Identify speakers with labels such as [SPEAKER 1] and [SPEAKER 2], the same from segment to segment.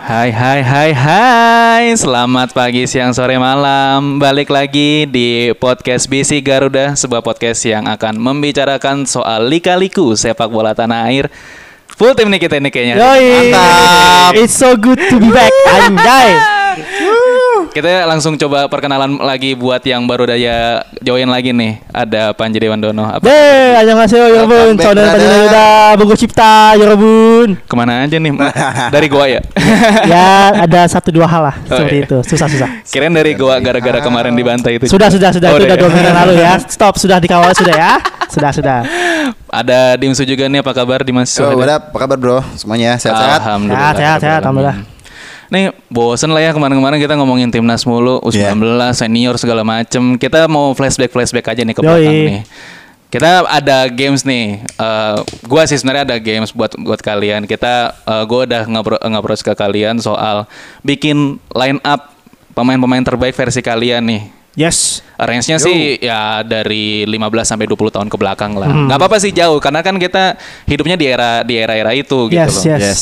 [SPEAKER 1] Hai hai hai hai Selamat pagi, siang, sore, malam Balik lagi di podcast BC Garuda Sebuah podcast yang akan membicarakan soal lika-liku sepak bola tanah air Full tim nih kita ini kayaknya
[SPEAKER 2] Yoi.
[SPEAKER 1] Ya, Mantap
[SPEAKER 2] It's so good to be back, anjay.
[SPEAKER 1] Kita langsung coba perkenalan lagi buat yang baru daya join lagi nih Ada Panji Dewandono Apa?
[SPEAKER 2] Deh, annyeonghaseyo
[SPEAKER 3] Welcome
[SPEAKER 2] yorobun.
[SPEAKER 3] back,
[SPEAKER 2] Saudara
[SPEAKER 3] brother.
[SPEAKER 2] saudara Bungo Cipta ya yorobun.
[SPEAKER 1] Kemana aja nih? Dari Goa ya?
[SPEAKER 2] Ya, ada satu dua hal lah
[SPEAKER 1] Oh, iya.
[SPEAKER 2] seperti itu. Susah-susah.
[SPEAKER 1] Kirain dari Goa gara-gara kemarin dibantai itu
[SPEAKER 2] Sudah, sudah, sudah.
[SPEAKER 1] Oh,
[SPEAKER 2] Itu
[SPEAKER 1] udah
[SPEAKER 2] udah
[SPEAKER 1] ya?
[SPEAKER 2] dua minggu yang lalu ya. Stop, sudah dikawal sudah ya. Sudah, sudah.
[SPEAKER 1] Ada Dimsu juga nih apa kabar Dimas?
[SPEAKER 3] So,
[SPEAKER 2] ya.
[SPEAKER 3] what up? Apa kabar bro? Semuanya sehat-sehat?
[SPEAKER 1] Alhamdulillah.
[SPEAKER 2] Sehat, sehat, sehat, alhamdulillah.
[SPEAKER 1] Nih bosen lah ya kemarin-kemarin kita ngomongin timnas mulu, U19, senior segala macem. Kita mau flashback flashback aja nih ke belakang
[SPEAKER 2] Yoi.
[SPEAKER 1] nih. Kita ada games nih. Eh gua sih sebenarnya ada games buat buat kalian. Kita eh, gua udah ngapro- ngapproach ke kalian soal bikin line up pemain-pemain terbaik versi kalian nih.
[SPEAKER 2] Yes.
[SPEAKER 1] Range-nya
[SPEAKER 3] Yo.
[SPEAKER 1] sih ya dari 15 sampai 20 tahun ke belakang lah. nggak apa-apa sih jauh karena kan kita hidupnya di era di era-era itu gitu
[SPEAKER 2] Yes,
[SPEAKER 1] loh.
[SPEAKER 2] yes.
[SPEAKER 3] Yes.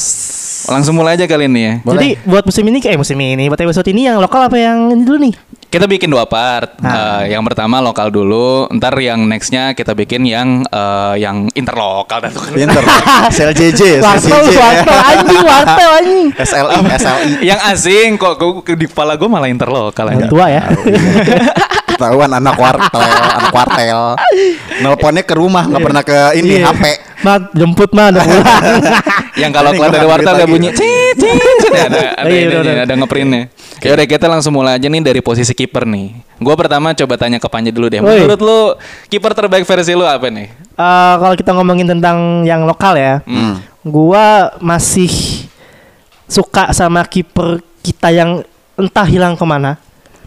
[SPEAKER 1] Langsung mulai aja kali ini ya.
[SPEAKER 2] Jadi buat musim ini eh musim ini buat episode ini yang lokal apa yang ini dulu nih?
[SPEAKER 1] Kita bikin dua part.
[SPEAKER 2] Nah.
[SPEAKER 1] Eh, yang pertama lokal dulu, ntar yang nextnya kita bikin yang eh, yang interlokal dan
[SPEAKER 3] Pinter. Sel JJ, sel
[SPEAKER 2] Wartel,
[SPEAKER 3] JJ ya.
[SPEAKER 2] wartel anjing, wartel anjing.
[SPEAKER 3] SLI, SLI.
[SPEAKER 1] yang asing kok gua- di kepala gue malah interlokal aja.
[SPEAKER 2] Orang tua ya.
[SPEAKER 3] Ketahuan anak kuartel, anak kuartel. Nelponnya ke rumah, nggak pernah ke ini
[SPEAKER 2] Iya.
[SPEAKER 3] HP.
[SPEAKER 2] Mat, jemput mah udah pulang.
[SPEAKER 1] Yang kalau
[SPEAKER 3] Ini
[SPEAKER 1] keluar
[SPEAKER 3] gua
[SPEAKER 1] dari
[SPEAKER 3] nggak
[SPEAKER 1] wartel
[SPEAKER 3] duit
[SPEAKER 1] udah
[SPEAKER 3] lagi.
[SPEAKER 1] bunyi cit cit cit ada ada
[SPEAKER 2] Iya,
[SPEAKER 1] ini,
[SPEAKER 2] udah, udah.
[SPEAKER 1] ada ngeprintnya. Ya udah kita langsung mulai aja nih dari posisi kiper nih. Gua pertama coba tanya ke Panji dulu deh.
[SPEAKER 2] Woi.
[SPEAKER 1] Menurut lu kiper terbaik versi lu apa nih?
[SPEAKER 2] Eh, kalau kita ngomongin tentang yang lokal ya,
[SPEAKER 3] Hmm.
[SPEAKER 2] gua masih suka sama kiper kita yang entah hilang kemana.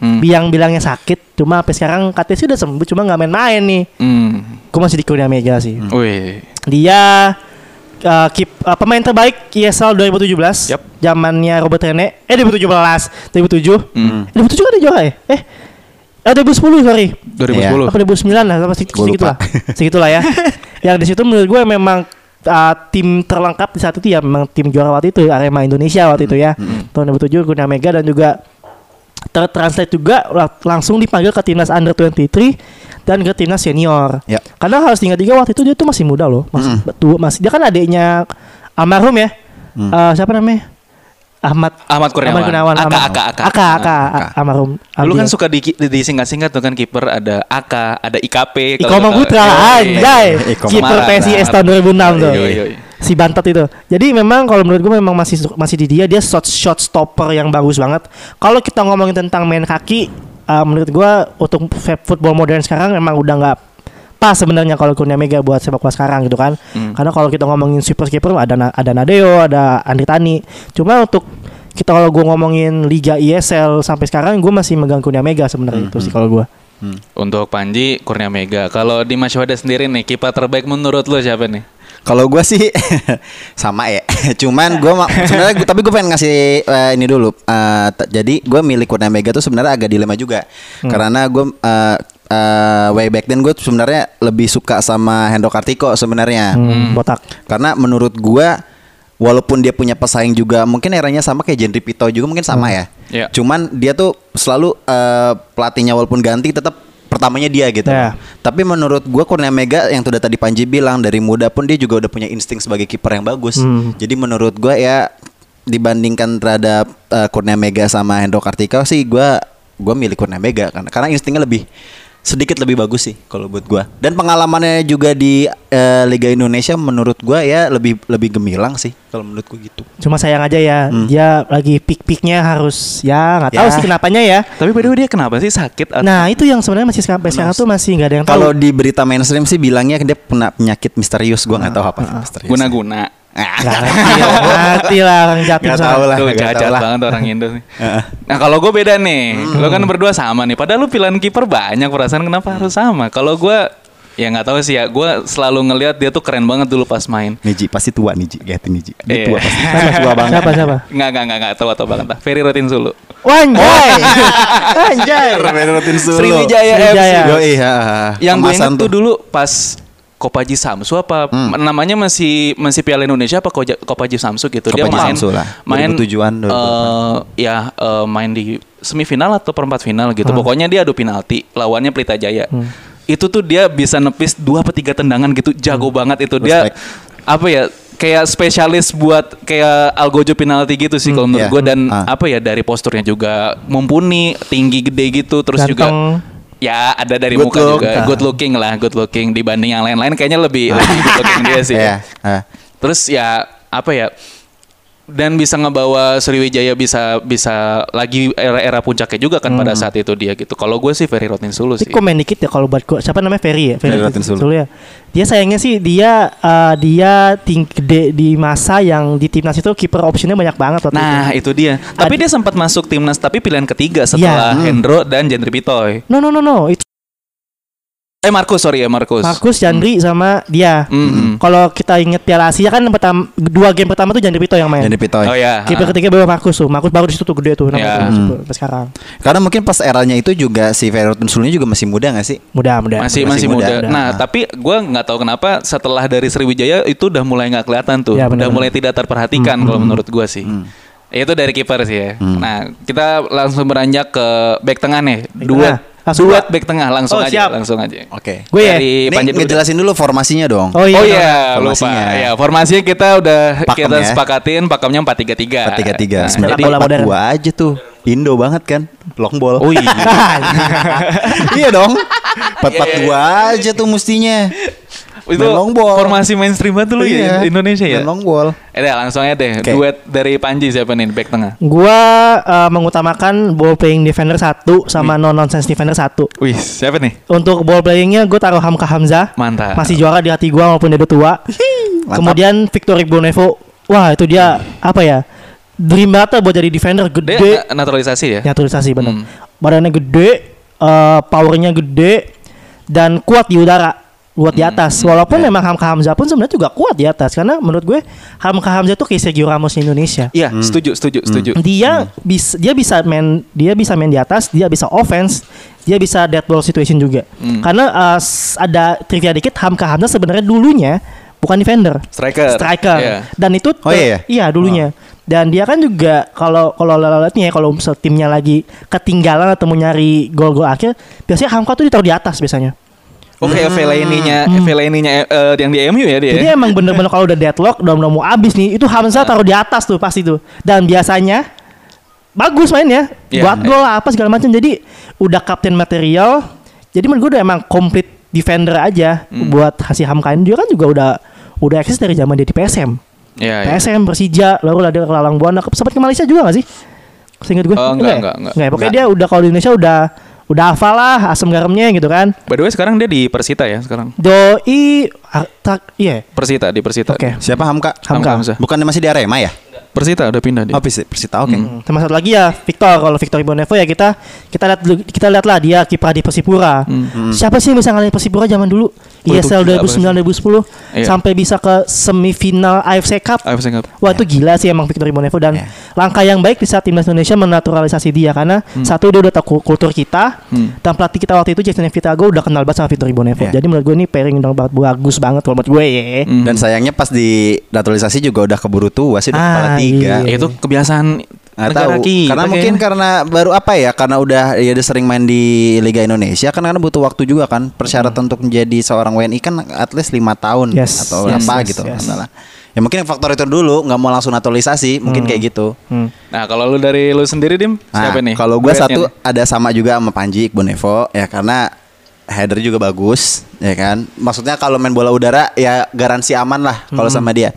[SPEAKER 1] Hmm.
[SPEAKER 2] Biang bilangnya sakit, cuma sampai sekarang katanya sih udah sembuh, cuma nggak main-main nih.
[SPEAKER 1] Hmm.
[SPEAKER 2] Gua masih di Kurnia Mega sih.
[SPEAKER 1] Wih.
[SPEAKER 2] Dia eh, kip- eh, pemain terbaik ISL 2017,
[SPEAKER 1] Yap.
[SPEAKER 2] zamannya Robert Rene. Eh 2017, 2007.
[SPEAKER 1] Hmm.
[SPEAKER 2] Eh, 2007 kan dia juara ya? Eh, eh 2010 sorry
[SPEAKER 1] 2010.
[SPEAKER 2] apa 2009 lah apa segi-
[SPEAKER 3] Gua
[SPEAKER 2] segitu
[SPEAKER 3] lupa.
[SPEAKER 2] lah segitu lah ya yang di situ menurut gue memang uh, tim terlengkap di saat itu ya memang tim juara waktu itu Arema Indonesia waktu itu
[SPEAKER 1] Mm-hmm.
[SPEAKER 2] ya tahun 2007 Guna Mega dan juga tertranslate juga la- langsung dipanggil ke timnas under 23 dan ke timnas senior
[SPEAKER 3] Ya.
[SPEAKER 2] karena harus ingat juga waktu itu dia tuh masih muda loh masih
[SPEAKER 1] Mm-hmm.
[SPEAKER 2] tua masih dia kan adiknya almarhum ya Eh, siapa namanya Ahmad
[SPEAKER 1] Mm. Ahmad Kurniawan. Aka,
[SPEAKER 2] Ahmad-
[SPEAKER 1] Aka, Aka.
[SPEAKER 2] Aka, Aka,
[SPEAKER 3] Aka.
[SPEAKER 2] almarhum
[SPEAKER 1] Lu kan
[SPEAKER 2] Abdul.
[SPEAKER 1] suka di, di- disingkat-singkat tuh kan kiper ada AK, ada IKP. kalau
[SPEAKER 2] Iko
[SPEAKER 1] nggak salah.
[SPEAKER 2] Putra
[SPEAKER 1] Yoi. iya,
[SPEAKER 2] anjay
[SPEAKER 3] Iko
[SPEAKER 2] kiper
[SPEAKER 1] Mara,
[SPEAKER 2] PSIS
[SPEAKER 1] Mara.
[SPEAKER 2] tahun 2006 tuh
[SPEAKER 1] Yoi, yoi.
[SPEAKER 2] si bantet itu jadi memang kalau menurut gue memang masih masih di dia dia shot shot stopper yang bagus banget kalau kita ngomongin tentang main kaki eh, menurut gue untuk fe- football modern sekarang memang udah nggak pas sebenarnya kalau Kurnia Mega buat sepak bola sekarang gitu kan
[SPEAKER 1] Hmm.
[SPEAKER 2] karena kalau kita ngomongin super kiper ada Na- ada Nadeo ada Andri Tani cuma untuk kita kalau gue ngomongin Liga ISL sampai sekarang gue masih megang Kurnia Mega
[SPEAKER 1] Hmm,
[SPEAKER 2] sebenarnya itu sih kalau gue
[SPEAKER 1] Untuk Panji Kurnia Mega. Kalau di Mas Wada sendiri nih kiper terbaik menurut lu siapa nih?
[SPEAKER 3] Kalau gua sih sama ya. Cuman gua ma- sebenarnya gua- tapi gue pengen ngasih eh, ini dulu. Eh, t- jadi gua milik Kurnia Mega tuh sebenarnya agak dilema juga.
[SPEAKER 2] Hmm.
[SPEAKER 3] Karena gua eh, eh, way back then gue sebenarnya lebih suka sama Hendro Kartiko sebenarnya.
[SPEAKER 2] Hmm, botak
[SPEAKER 3] Karena menurut gua walaupun dia punya pesaing juga mungkin eranya sama kayak Jendri Pito juga mungkin sama ya.
[SPEAKER 1] Iya.
[SPEAKER 3] Cuman dia tuh selalu eh, pelatihnya walaupun ganti tetap pertamanya dia gitu.
[SPEAKER 2] Iya.
[SPEAKER 3] Tapi menurut gua Kurnia Mega yang sudah tadi Panji bilang dari muda pun dia juga udah punya insting sebagai kiper yang bagus.
[SPEAKER 2] Hmm.
[SPEAKER 3] Jadi menurut gua ya dibandingkan terhadap eh, Kurnia Mega sama Hendro Kartika sih gua gua milih Kurnia Mega karena karena instingnya lebih sedikit lebih bagus sih kalau buat gua. Dan pengalamannya juga di eh, Liga Indonesia menurut gua ya lebih lebih gemilang sih kalau menurut gua gitu.
[SPEAKER 2] Cuma sayang aja ya, dia lagi pik-piknya harus ya nggak tahu
[SPEAKER 3] Hmm. Ya.
[SPEAKER 2] sih kenapanya ya.
[SPEAKER 1] Tapi by the way dia kenapa sih sakit? atau-
[SPEAKER 2] Nah itu yang sebenarnya masih sampai sekarang tuh masih nggak ada yang tahu.
[SPEAKER 3] Kalau di berita mainstream sih bilangnya dia punya penyakit misterius gua nggak tahu apa
[SPEAKER 2] Ah,
[SPEAKER 3] misterius.
[SPEAKER 1] Guna-guna.
[SPEAKER 2] Nggak ngerti lah, ngerti Iya, lah orang jatim
[SPEAKER 3] Nggak
[SPEAKER 2] soalnya.
[SPEAKER 3] tahu lah.
[SPEAKER 1] Tuh
[SPEAKER 3] nggak
[SPEAKER 1] jahat
[SPEAKER 3] tahu lah.
[SPEAKER 1] banget orang Indo nih.
[SPEAKER 2] Eh.
[SPEAKER 1] Nah kalau gue beda nih,
[SPEAKER 2] Hmm.
[SPEAKER 1] lo kan berdua sama nih. Padahal lu pilihan kiper banyak perasaan kenapa harus sama? Kalau gue ya nggak tahu sih ya. Gue selalu ngelihat dia tuh keren banget dulu pas main.
[SPEAKER 3] Niji pasti tua Niji, Gak Niji.
[SPEAKER 1] Iya.
[SPEAKER 3] Dia tua pasti. tua banget.
[SPEAKER 2] Siapa siapa?
[SPEAKER 1] Nggak nggak nggak nggak tahu atau banget. lah. Ferry Rotin Sulu.
[SPEAKER 2] Wanjay, anjay.
[SPEAKER 3] Menurutin Sulu.
[SPEAKER 1] Sriwijaya
[SPEAKER 2] Sriwijaya.
[SPEAKER 1] FC.
[SPEAKER 3] Yo iya.
[SPEAKER 1] Yang gue
[SPEAKER 3] Kemasan Hmm.
[SPEAKER 1] inget tuh dulu pas Kopaji Samsu apa namanya masih masih Piala Indonesia apa Koja- Kopaji Samsu gitu dia
[SPEAKER 3] Kopaji
[SPEAKER 1] main
[SPEAKER 3] Samsu lah.
[SPEAKER 1] main
[SPEAKER 3] 2007-an, 2008.
[SPEAKER 1] eh, ya eh, main di semifinal atau perempat final gitu pokoknya dia adu penalti lawannya Pelita Jaya itu tuh dia bisa nepis dua atau tiga tendangan gitu jago banget itu dia
[SPEAKER 3] Hmm. Respect.
[SPEAKER 1] apa ya kayak spesialis buat kayak algojo penalti gitu sih kalau menurut
[SPEAKER 3] iya.
[SPEAKER 1] gue dan
[SPEAKER 3] Ah.
[SPEAKER 1] apa ya dari posturnya juga mumpuni tinggi gede gitu terus juga
[SPEAKER 2] Ganteng.
[SPEAKER 1] ya ada dari
[SPEAKER 3] Good
[SPEAKER 1] muka
[SPEAKER 3] look.
[SPEAKER 1] juga
[SPEAKER 3] Ah.
[SPEAKER 1] good looking lah good looking dibanding yang lain-lain kayaknya lebih lebih good looking dia sih ya?
[SPEAKER 3] Iya, ah.
[SPEAKER 1] terus ya apa ya dan bisa ngebawa Sriwijaya bisa bisa lagi era-era puncaknya juga kan pada saat itu dia gitu kalau gue sih Ferry Rotin Sulu sih
[SPEAKER 2] Tapi komen dikit ya kalau buat gua. Siapa namanya Ferry ya?
[SPEAKER 3] Ferry Rotinsulu.
[SPEAKER 2] ya. Dia sayangnya sih dia eh, dia ting gede di masa yang di timnas itu kiper optionnya banyak banget waktu
[SPEAKER 1] nah itu
[SPEAKER 2] itu.
[SPEAKER 1] dia tapi dia sempat masuk timnas tapi pilihan ketiga setelah
[SPEAKER 3] Hmm.
[SPEAKER 1] Hendro dan Jendri Pitoy
[SPEAKER 2] No no no no, itu
[SPEAKER 1] eh Markus sorry ya Markus
[SPEAKER 2] Markus Jandri
[SPEAKER 3] Hmm.
[SPEAKER 2] sama dia.
[SPEAKER 1] Mm-mm.
[SPEAKER 2] Kalau kita inget Piala Asia kan pertama dua game pertama tuh Jandri Pito yang main.
[SPEAKER 3] Jadi Pitoy.
[SPEAKER 1] oh ya ah.
[SPEAKER 2] Kiper ketiga baru Markus tuh. Markus baru di situ tuh gede tuh
[SPEAKER 1] Iya.
[SPEAKER 2] namanya tuh, sampai sekarang.
[SPEAKER 3] Karena mungkin pas eranya itu juga si Ferrotun Sulunya juga masih muda gak sih?
[SPEAKER 2] Mudah, mudah.
[SPEAKER 1] masih
[SPEAKER 3] Masih
[SPEAKER 1] Ya, masih muda.
[SPEAKER 3] muda.
[SPEAKER 1] Nah,
[SPEAKER 3] Nah.
[SPEAKER 1] tapi gua nggak tahu kenapa setelah dari Sriwijaya itu udah mulai nggak kelihatan tuh,
[SPEAKER 2] Ya,
[SPEAKER 1] udah
[SPEAKER 2] benar-benar.
[SPEAKER 1] mulai tidak terperhatikan kalau menurut gua sih. Itu dari kiper sih ya. Nah, kita langsung beranjak ke back tengah nih. Duet,
[SPEAKER 2] tengah. Langsung
[SPEAKER 1] duet
[SPEAKER 2] gua.
[SPEAKER 1] back tengah langsung
[SPEAKER 2] Oh,
[SPEAKER 1] aja,
[SPEAKER 2] siap.
[SPEAKER 1] langsung aja.
[SPEAKER 3] Oke.
[SPEAKER 2] Gue ya.
[SPEAKER 1] Dari
[SPEAKER 3] Ini
[SPEAKER 1] Panji dulu.
[SPEAKER 3] ngejelasin dulu formasinya dong.
[SPEAKER 2] Oh iya.
[SPEAKER 1] Oh iya, lupa.
[SPEAKER 3] Formasinya.
[SPEAKER 1] Ya, formasinya kita udah
[SPEAKER 3] Pakem
[SPEAKER 1] kita
[SPEAKER 3] ya.
[SPEAKER 1] sepakatin pakemnya 4-3-3.
[SPEAKER 3] 4-3-3
[SPEAKER 1] Nah,
[SPEAKER 3] Sebenarnya
[SPEAKER 1] jadi-
[SPEAKER 2] bola
[SPEAKER 3] bola
[SPEAKER 2] modern.
[SPEAKER 3] Papua aja tuh Indo banget kan Long ball
[SPEAKER 1] Oh iya.
[SPEAKER 3] Iya dong 4-4-2 aja tuh mestinya
[SPEAKER 1] itu
[SPEAKER 3] Main long ball.
[SPEAKER 1] formasi mainstream banget dulu ya Indonesia ya.
[SPEAKER 3] Main Iya. long ball
[SPEAKER 1] Eh deh, langsung aja deh.
[SPEAKER 3] Oke.
[SPEAKER 1] Duet dari Panji siapa nih back tengah?
[SPEAKER 2] Gua eh, mengutamakan ball playing defender satu sama
[SPEAKER 1] Hmm.
[SPEAKER 2] non nonsense defender satu.
[SPEAKER 1] Wih, siapa nih?
[SPEAKER 2] Untuk ball playingnya gue taruh Hamka Hamzah.
[SPEAKER 1] Mantap.
[SPEAKER 2] Masih juara di hati gue walaupun dia udah tua.
[SPEAKER 3] mantap.
[SPEAKER 2] Kemudian Victor Bonevo. Wah itu dia apa ya? Dream banget buat jadi defender
[SPEAKER 1] Dia
[SPEAKER 2] gede.
[SPEAKER 1] na- naturalisasi ya?
[SPEAKER 2] Naturalisasi benar.
[SPEAKER 1] Hmm.
[SPEAKER 2] Badannya gede, eh, powernya gede dan kuat di udara, kuat di atas. Walaupun memang Hamka Hamzah pun sebenarnya juga kuat di atas karena menurut gue Hamka Hamzah tuh kayak Sergio Ramos Indonesia.
[SPEAKER 1] Iya,
[SPEAKER 3] Hmm.
[SPEAKER 1] setuju, setuju, setuju.
[SPEAKER 2] Dia bisa dia bisa main dia bisa main di atas, dia bisa offense, dia bisa dead ball situation juga. Karena eh, s- ada trivia dikit Hamka Hamzah sebenarnya dulunya bukan defender.
[SPEAKER 1] Striker.
[SPEAKER 2] Striker.
[SPEAKER 1] Iya.
[SPEAKER 2] Dan itu
[SPEAKER 3] Oh, iya ya?
[SPEAKER 2] dulunya. Dan dia kan juga kalau kalau lihatnya ya kalau misal timnya lagi ketinggalan atau mau nyari gol-gol akhir, biasanya Hamka tuh ditaruh di atas biasanya.
[SPEAKER 1] Oke, Fellaini-nya, Fellaini-nya eh, yang di MU ya dia.
[SPEAKER 2] Jadi
[SPEAKER 1] ya?
[SPEAKER 2] emang bener-bener kalau udah deadlock, udah udah mau abis nih, itu
[SPEAKER 1] Iya.
[SPEAKER 2] Hamzah taruh di atas tuh pasti tuh. Dan biasanya bagus mainnya,
[SPEAKER 1] Iya.
[SPEAKER 2] buat gol lah, apa segala macam. Jadi udah kapten material. Jadi menurut gue udah emang complete defender aja
[SPEAKER 1] Hmm.
[SPEAKER 2] buat Hasi Hamka ini. Dia kan juga udah udah eksis dari zaman dia di PSM.
[SPEAKER 1] Iya, iya.
[SPEAKER 2] PSM Persija, lalu ada ke Lalang Buana, Ke- sempat ke Malaysia juga gak sih? Seingat gue.
[SPEAKER 1] Eh, enggak,
[SPEAKER 2] ya?
[SPEAKER 1] enggak, enggak.
[SPEAKER 2] ya? pokoknya dia udah kalau di Indonesia udah udah hafal lah asam garamnya gitu kan.
[SPEAKER 1] By the way, sekarang dia di Persita ya sekarang.
[SPEAKER 2] Doi ah, tak iya.
[SPEAKER 1] Persita di Persita.
[SPEAKER 2] Oke.
[SPEAKER 3] Siapa Hamka?
[SPEAKER 1] Hamka
[SPEAKER 2] Hamka.
[SPEAKER 1] Hamzah.
[SPEAKER 3] Bukannya masih di Arema ya?
[SPEAKER 1] Persita udah pindah dia.
[SPEAKER 3] Oh Persi- Persita oke
[SPEAKER 2] Sama satu lagi ya Victor kalau Victor Ibonevo ya kita kita lihat dulu- kita lihatlah dia kiprah di Persipura. Siapa sih yang bisa ngalahin Persipura zaman dulu?
[SPEAKER 1] Wah, itu
[SPEAKER 2] ISL
[SPEAKER 1] Hmm, gila
[SPEAKER 2] 2009 2010
[SPEAKER 1] Iya.
[SPEAKER 2] sampai bisa ke semifinal AFC Cup.
[SPEAKER 1] AFC Cup.
[SPEAKER 2] Wah itu gila sih emang Victor Ibonevo dan
[SPEAKER 3] Iya.
[SPEAKER 2] langkah yang baik di saat timnas Indonesia menaturalisasi dia karena satu dia udah tahu ku- kultur kita dan pelatih kita waktu itu Jason Vitago udah kenal banget sama Victor Ibonevo.
[SPEAKER 3] Iya.
[SPEAKER 2] Jadi menurut gue ini pairing dong banget bagus banget kalau menurut gue ya.
[SPEAKER 1] Mhm.
[SPEAKER 3] Dan sayangnya pas di naturalisasi juga udah keburu tua sih udah
[SPEAKER 2] Ah,
[SPEAKER 3] kepala tiga.
[SPEAKER 1] Ya,
[SPEAKER 2] iya.
[SPEAKER 1] itu kebiasaan
[SPEAKER 3] Nggak
[SPEAKER 1] negara
[SPEAKER 3] tahu.
[SPEAKER 1] kita
[SPEAKER 3] Karena mungkin kan-
[SPEAKER 1] kayaknya.
[SPEAKER 3] karena baru apa ya? Karena udah ya dia sering main di Liga Indonesia kan karena butuh waktu juga kan. Persyaratan untuk menjadi seorang WNI kan at least 5 tahun
[SPEAKER 2] Hmm. Yes,
[SPEAKER 3] atau
[SPEAKER 2] yes,
[SPEAKER 3] apa
[SPEAKER 2] yes,
[SPEAKER 3] gitu
[SPEAKER 2] yes.
[SPEAKER 3] masalah. Ya mungkin faktor itu dulu nggak mau langsung naturalisasi, mungkin kayak gitu.
[SPEAKER 2] Hmm.
[SPEAKER 1] Nah, kalau lu dari lu sendiri Dim,
[SPEAKER 3] Nah,
[SPEAKER 1] siapa nih?
[SPEAKER 3] kalau gua
[SPEAKER 1] Duetnya
[SPEAKER 3] satu
[SPEAKER 1] nih?
[SPEAKER 3] ada sama juga sama Panji Bonevo ya karena header juga bagus ya kan. Maksudnya kalau main bola udara ya garansi aman lah kalau
[SPEAKER 1] Hmm.
[SPEAKER 3] sama dia.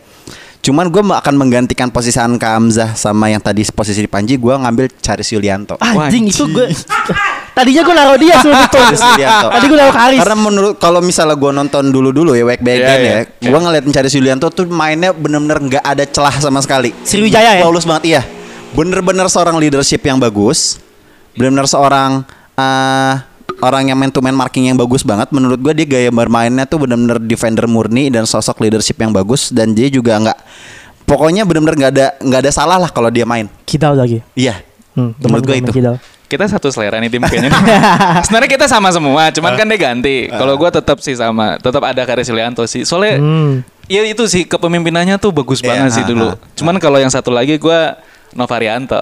[SPEAKER 3] Cuman gue akan menggantikan posisi Anka Hamzah sama yang tadi posisi di Panji gue ngambil Charis Yulianto.
[SPEAKER 2] Anjing itu gue Tadinya gue naruh dia sudah betul.
[SPEAKER 3] Haris Yulianto.
[SPEAKER 2] Tadi gue naruh ke Haris.
[SPEAKER 3] Karena menurut kalau misalnya gue nonton dulu-dulu ya Wake Bagan
[SPEAKER 1] Iya, iya.
[SPEAKER 3] ya, Gua gue ngeliat mencari Yulianto tuh mainnya bener-bener nggak ada celah sama sekali.
[SPEAKER 2] Sriwijaya ya?
[SPEAKER 3] Lulus banget iya. Bener-bener seorang leadership yang bagus, bener-bener seorang eh, orang yang main to man marking yang bagus banget. Menurut gue dia gaya bermainnya tuh bener-bener defender murni dan sosok leadership yang bagus dan dia juga nggak pokoknya bener-bener nggak ada nggak ada salah lah kalau dia main.
[SPEAKER 2] Kidal lagi.
[SPEAKER 3] Iya.
[SPEAKER 2] Hmm,
[SPEAKER 3] menurut gue
[SPEAKER 2] teman-teman
[SPEAKER 3] itu.
[SPEAKER 2] Kidal.
[SPEAKER 1] kita satu selera nih tim kayaknya. Sebenarnya kita sama semua, cuman
[SPEAKER 3] Ah.
[SPEAKER 1] kan dia ganti. Kalau gua tetap sih sama, tetap ada Karis Yulianto sih. Soalnya
[SPEAKER 2] Hmm.
[SPEAKER 1] ya itu sih kepemimpinannya tuh bagus
[SPEAKER 3] Iya,
[SPEAKER 1] banget sih
[SPEAKER 3] ah,
[SPEAKER 1] dulu.
[SPEAKER 3] ah,
[SPEAKER 1] Cuman kalau yang satu lagi gua Novarianto.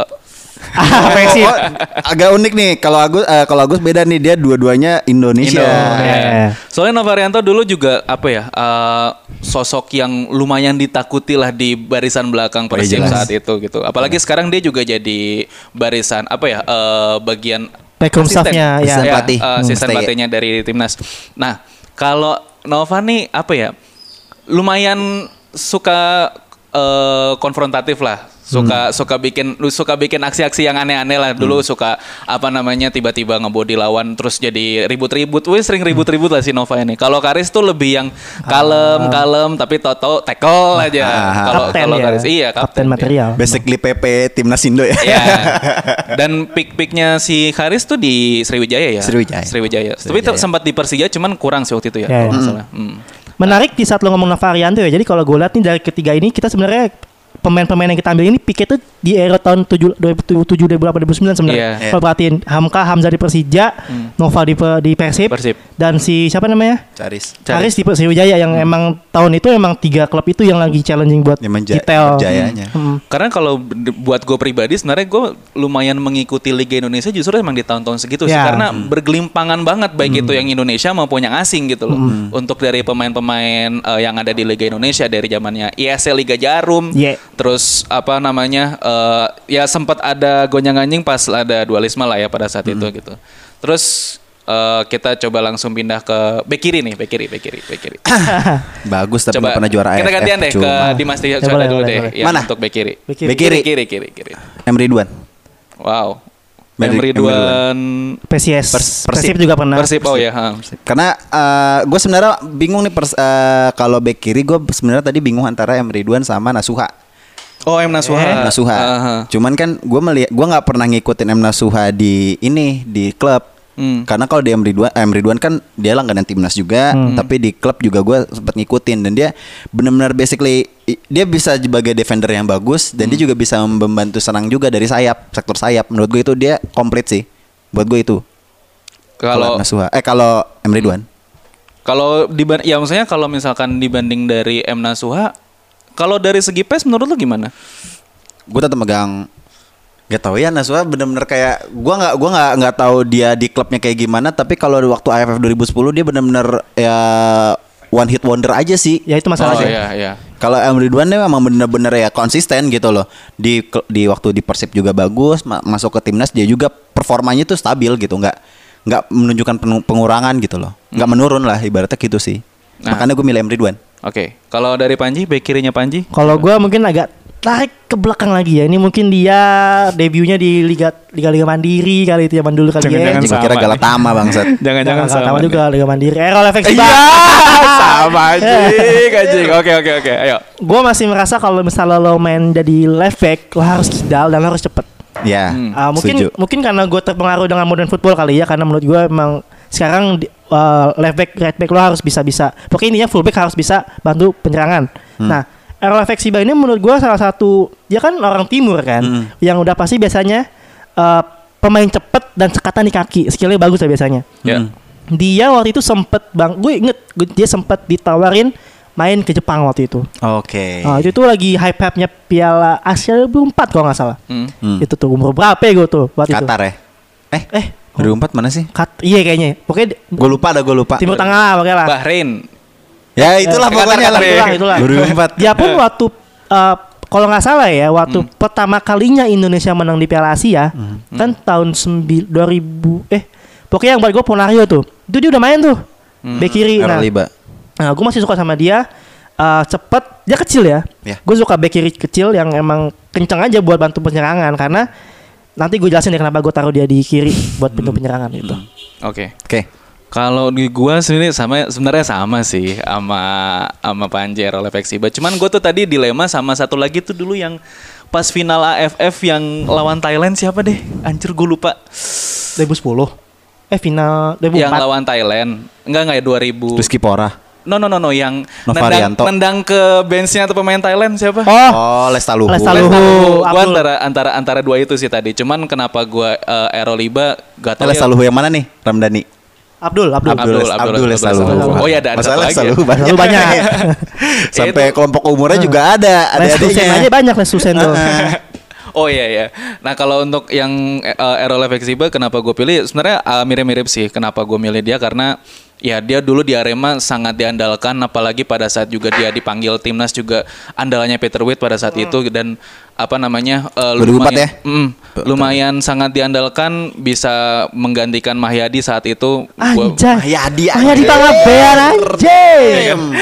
[SPEAKER 2] Apa sih?
[SPEAKER 3] Oh, agak unik nih kalau Agus eh, kalau Agus beda nih dia dua-duanya Indonesia.
[SPEAKER 1] Indo,
[SPEAKER 2] Iya,
[SPEAKER 1] ya.
[SPEAKER 2] iya.
[SPEAKER 1] Soalnya Novarianto dulu juga apa ya eh, sosok yang lumayan ditakuti lah di barisan belakang
[SPEAKER 3] Oh, iya,
[SPEAKER 1] Persib
[SPEAKER 3] jelas.
[SPEAKER 1] saat itu gitu. Apalagi
[SPEAKER 3] Iya.
[SPEAKER 1] sekarang dia juga jadi barisan apa ya eh, bagian
[SPEAKER 2] Backroom
[SPEAKER 1] asisten.
[SPEAKER 2] staff-nya, ya.
[SPEAKER 3] Asisten pelatih.
[SPEAKER 1] eh, asisten
[SPEAKER 3] Hmm.
[SPEAKER 2] Iya.
[SPEAKER 1] pelatihnya dari timnas. Nah kalau Nova nih apa ya lumayan suka eh, konfrontatif lah suka
[SPEAKER 2] Hmm.
[SPEAKER 1] suka bikin lu suka bikin aksi-aksi yang aneh-aneh lah dulu suka apa namanya tiba-tiba ngebody lawan terus jadi ribut-ribut wih sering ribut-ribut lah si Nova ini kalau Karis tuh lebih yang kalem kalem tapi toto tackle aja kalau
[SPEAKER 2] Ah. Kapten
[SPEAKER 1] kalau
[SPEAKER 2] ya.
[SPEAKER 1] Karis iya
[SPEAKER 2] Kapten
[SPEAKER 1] dia.
[SPEAKER 2] material.
[SPEAKER 3] Basically PP timnas Indo ya.
[SPEAKER 1] Ya. Dan pick-picknya si Karis tuh di Sriwijaya ya.
[SPEAKER 3] Sriwijaya.
[SPEAKER 1] Sriwijaya. Tapi
[SPEAKER 3] Sriwijaya.
[SPEAKER 1] sempat di Persija cuman kurang sih waktu itu ya. kalau
[SPEAKER 2] Ya, ya.
[SPEAKER 1] nggak salah. Hmm.
[SPEAKER 2] Menarik di saat lo ngomong Navarianto ya. Jadi kalau gue lihat nih dari ketiga ini kita sebenarnya pemain-pemain yang kita ambil ini Pique tuh di era tahun 7 2007 2008 2009 sebenarnya.
[SPEAKER 1] Iya. Hmm.
[SPEAKER 2] Kalau perhatiin Hamka Hamzah di Persija, Nova di Pe- di Persib,
[SPEAKER 1] Persib.
[SPEAKER 2] dan si siapa namanya?
[SPEAKER 3] Caris.
[SPEAKER 2] Haris di Persijaya yang
[SPEAKER 1] Hmm.
[SPEAKER 2] emang tahun itu emang tiga klub itu yang lagi challenging buat
[SPEAKER 3] Yang menja-
[SPEAKER 2] detail.
[SPEAKER 3] berjayanya.
[SPEAKER 2] Hmm.
[SPEAKER 1] Karena kalau d- buat gue pribadi sebenarnya gue lumayan mengikuti Liga Indonesia justru emang di tahun-tahun segitu sih
[SPEAKER 2] Ya.
[SPEAKER 1] karena
[SPEAKER 3] Hmm.
[SPEAKER 1] bergelimpangan banget baik itu yang Indonesia maupun yang asing gitu loh.
[SPEAKER 3] Hmm.
[SPEAKER 1] Untuk dari pemain-pemain eh, yang ada di Liga Indonesia dari zamannya ISL Liga Jarum,
[SPEAKER 2] Ye.
[SPEAKER 1] terus apa namanya eh, ya sempat ada gonjang-ganjing pas ada dualisme lah ya pada
[SPEAKER 3] Hmm.
[SPEAKER 1] saat itu gitu. Terus eh, kita coba langsung pindah ke bek kiri nih, bek kiri, bek kiri, bek kiri.
[SPEAKER 3] Bagus tapi nggak pernah juara
[SPEAKER 1] Kita
[SPEAKER 3] AFF,
[SPEAKER 1] gantian deh
[SPEAKER 3] cuma.
[SPEAKER 1] ke Dimas Tio
[SPEAKER 2] Ya,
[SPEAKER 1] Chandra
[SPEAKER 2] boleh,
[SPEAKER 1] dulu
[SPEAKER 2] boleh,
[SPEAKER 1] deh.
[SPEAKER 2] boleh.
[SPEAKER 1] yang
[SPEAKER 3] Mana?
[SPEAKER 1] Untuk bek kiri.
[SPEAKER 2] Bek
[SPEAKER 3] Bek kiri.
[SPEAKER 1] Kiri, kiri, kiri.
[SPEAKER 3] Emre Ridwan.
[SPEAKER 1] Wow.
[SPEAKER 3] Dari-
[SPEAKER 1] Em Ridwan
[SPEAKER 2] PSIS.
[SPEAKER 3] Pers-
[SPEAKER 2] Persib
[SPEAKER 3] Persib.
[SPEAKER 2] juga pernah.
[SPEAKER 1] Persib oh ya. ha.
[SPEAKER 3] Karena gue sebenarnya bingung nih pers- eh, kalau back kiri gue sebenarnya tadi bingung antara Emre Ridwan sama Nasuha.
[SPEAKER 1] Oh M
[SPEAKER 2] Eh.
[SPEAKER 1] Nasuha.
[SPEAKER 3] Eh, Nasuha.
[SPEAKER 1] Aha.
[SPEAKER 3] Cuman kan gue melihat gue nggak pernah ngikutin M Nasuha di ini di klub.
[SPEAKER 1] Hmm.
[SPEAKER 3] Karena kalau di M Ridwan, eh, M Ridwan kan dia langganan timnas juga, tapi di klub juga gue sempat ngikutin dan dia benar-benar basically i- dia bisa sebagai defender yang bagus dan dia
[SPEAKER 1] Hmm.
[SPEAKER 3] juga bisa membantu serang juga dari sayap sektor sayap. Menurut gue itu dia komplit sih. Buat gue itu.
[SPEAKER 1] Kalau
[SPEAKER 3] M Nasuha, eh kalau M Ridwan.
[SPEAKER 1] kalau diban ya maksudnya kalau misalkan dibanding dari M Nasuha kalau dari segi pes menurut lu gimana?
[SPEAKER 3] gue tetap megang gak tau ya Naswa bener-bener kayak gue nggak gua nggak nggak tahu dia di klubnya kayak gimana tapi kalau waktu AFF 2010 dia bener-bener ya one hit wonder aja sih
[SPEAKER 2] Ya itu masalah
[SPEAKER 1] oh
[SPEAKER 2] sih.
[SPEAKER 1] iya iya.
[SPEAKER 3] kalau Em Ridwan dia memang bener-bener ya konsisten gitu loh di kl- di waktu di Persib juga bagus ma- masuk ke timnas dia juga performanya tuh stabil gitu nggak nggak menunjukkan penu- pengurangan gitu loh
[SPEAKER 2] Hmm.
[SPEAKER 3] nggak menurun lah ibaratnya gitu sih
[SPEAKER 1] Nah.
[SPEAKER 3] makanya gue milih Em Ridwan
[SPEAKER 1] Oke, kalau dari Panji bek kirinya Panji?
[SPEAKER 2] Kalau gue mungkin agak tarik ke belakang lagi ya. Ini mungkin dia debutnya di liga liga liga mandiri kali itu zaman dulu kali ya.
[SPEAKER 1] Jangan-jangan
[SPEAKER 3] gue kira
[SPEAKER 1] sama.
[SPEAKER 3] Galatama bangsat
[SPEAKER 1] Jangan-jangan
[SPEAKER 2] Nggak
[SPEAKER 1] sama.
[SPEAKER 2] tahu juga liga mandiri. Eh, Errol efek
[SPEAKER 1] Iya, sama anjing, anjing. Oke, oke, oke, ayo.
[SPEAKER 2] Gue masih merasa kalau misalnya lo main jadi left back, lo harus kidal dan lo harus cepet.
[SPEAKER 3] ya
[SPEAKER 2] Ah, mungkin
[SPEAKER 3] setuju.
[SPEAKER 2] mungkin karena gue terpengaruh dengan modern football kali ya karena menurut gue emang sekarang di- eh, left back right back lo harus bisa bisa pokoknya intinya full back harus bisa bantu penyerangan
[SPEAKER 3] Hmm.
[SPEAKER 2] nah Errol Efek Siba ini menurut gue salah satu dia kan orang timur kan
[SPEAKER 3] Hmm.
[SPEAKER 2] yang udah pasti biasanya eh, pemain cepet dan sekatan di kaki skillnya bagus lah biasanya
[SPEAKER 1] Ya.
[SPEAKER 2] dia waktu itu sempet bang gue inget gue- dia sempet ditawarin main ke Jepang waktu itu
[SPEAKER 3] Oke.
[SPEAKER 2] Ah, itu tuh lagi hype hype nya Piala Asia 2004 kalau nggak salah
[SPEAKER 1] Hmm.
[SPEAKER 3] Hmm.
[SPEAKER 2] itu tuh umur berapa ya gue tuh waktu itu
[SPEAKER 3] Qatar ya? Eh,
[SPEAKER 2] Eh,
[SPEAKER 3] 2004 mana sih?
[SPEAKER 2] kat, iya kayaknya. Pokoknya di-
[SPEAKER 3] Gue lupa ada gue lupa.
[SPEAKER 2] Timur Tengah lah pokoknya lah.
[SPEAKER 1] Bahrain.
[SPEAKER 3] Ya itulah
[SPEAKER 1] Eh,
[SPEAKER 3] pokoknya
[SPEAKER 1] Qatar,
[SPEAKER 3] lah.
[SPEAKER 1] Qatar,
[SPEAKER 2] Itulah, itulah.
[SPEAKER 3] 2004.
[SPEAKER 2] Dia pun waktu eh, kalau nggak salah ya, waktu
[SPEAKER 3] Hmm.
[SPEAKER 2] pertama kalinya Indonesia menang di Piala Asia kan tahun sembil- 2000 eh pokoknya yang buat gue Ponario tuh. Itu dia udah main tuh.
[SPEAKER 3] Hmm.
[SPEAKER 2] Bek kiri. Nah,
[SPEAKER 3] Liba.
[SPEAKER 2] nah gue masih suka sama dia. Eh, cepet, dia kecil ya.
[SPEAKER 3] Ya.
[SPEAKER 2] Gue suka bek kiri kecil yang emang kenceng aja buat bantu penyerangan karena nanti gue jelasin deh kenapa gue taruh dia di kiri buat
[SPEAKER 3] Hmm.
[SPEAKER 2] bantu penyerangan gitu.
[SPEAKER 1] Oke.
[SPEAKER 3] Oke.
[SPEAKER 1] Kalau di gua sendiri sama sebenarnya sama sih sama sama Panjer oleh Feksiba. Cuman gua tuh tadi dilema sama satu lagi tuh dulu yang pas final AFF yang lawan Thailand siapa deh? Anjir gua lupa.
[SPEAKER 2] 2010. Eh final 2004.
[SPEAKER 1] Yang lawan Thailand. Enggak enggak ya 2000.
[SPEAKER 3] Rizky Pora.
[SPEAKER 1] No no no no yang nendang,
[SPEAKER 3] Novarianto.
[SPEAKER 1] nendang ke benchnya atau pemain Thailand siapa?
[SPEAKER 2] Oh,
[SPEAKER 3] Oh, Lesta Luhu.
[SPEAKER 2] Lesta Luhu.
[SPEAKER 1] Gue
[SPEAKER 2] Abdul.
[SPEAKER 1] antara antara antara dua itu sih tadi. Cuman kenapa gua eh, Eroliba gak
[SPEAKER 3] Eh,
[SPEAKER 1] tau
[SPEAKER 3] Lesta
[SPEAKER 1] ya.
[SPEAKER 3] Luhu yang mana nih? Ramdhani.
[SPEAKER 2] Abdul,
[SPEAKER 1] Abdul,
[SPEAKER 2] Abdul.
[SPEAKER 1] Abdul, Abdul
[SPEAKER 3] Lesta
[SPEAKER 1] Lesta
[SPEAKER 3] Luhu.
[SPEAKER 1] Luhu. Oh, iya, ada- ada
[SPEAKER 3] Masalah
[SPEAKER 1] satu
[SPEAKER 3] Lesta
[SPEAKER 1] lagi ya.
[SPEAKER 3] Luhu banyak.
[SPEAKER 2] Terlalu banyak.
[SPEAKER 3] Sampai
[SPEAKER 1] Itu.
[SPEAKER 3] kelompok umurnya juga ada. Ada
[SPEAKER 2] Les Lusen aja
[SPEAKER 3] adanya.
[SPEAKER 2] banyak Les Lusen tuh.
[SPEAKER 1] Oh iya ya. Nah kalau untuk yang uh, Erol Efeksiba kenapa gue pilih? Sebenarnya uh, mirip-mirip sih. Kenapa gue milih dia karena ya dia dulu di Arema sangat diandalkan, apalagi pada saat juga dia dipanggil timnas juga andalannya Peter Witt pada
[SPEAKER 2] Hmm.
[SPEAKER 1] saat itu dan apa namanya uh,
[SPEAKER 3] 2004 ya?
[SPEAKER 1] mm, lumayan sangat diandalkan bisa menggantikan Mahyadi saat itu. Gua-
[SPEAKER 2] Anjay.
[SPEAKER 3] Mahyadi,
[SPEAKER 2] Ayah di
[SPEAKER 3] anjir.
[SPEAKER 2] tangan bear
[SPEAKER 3] Eh,
[SPEAKER 2] anjay.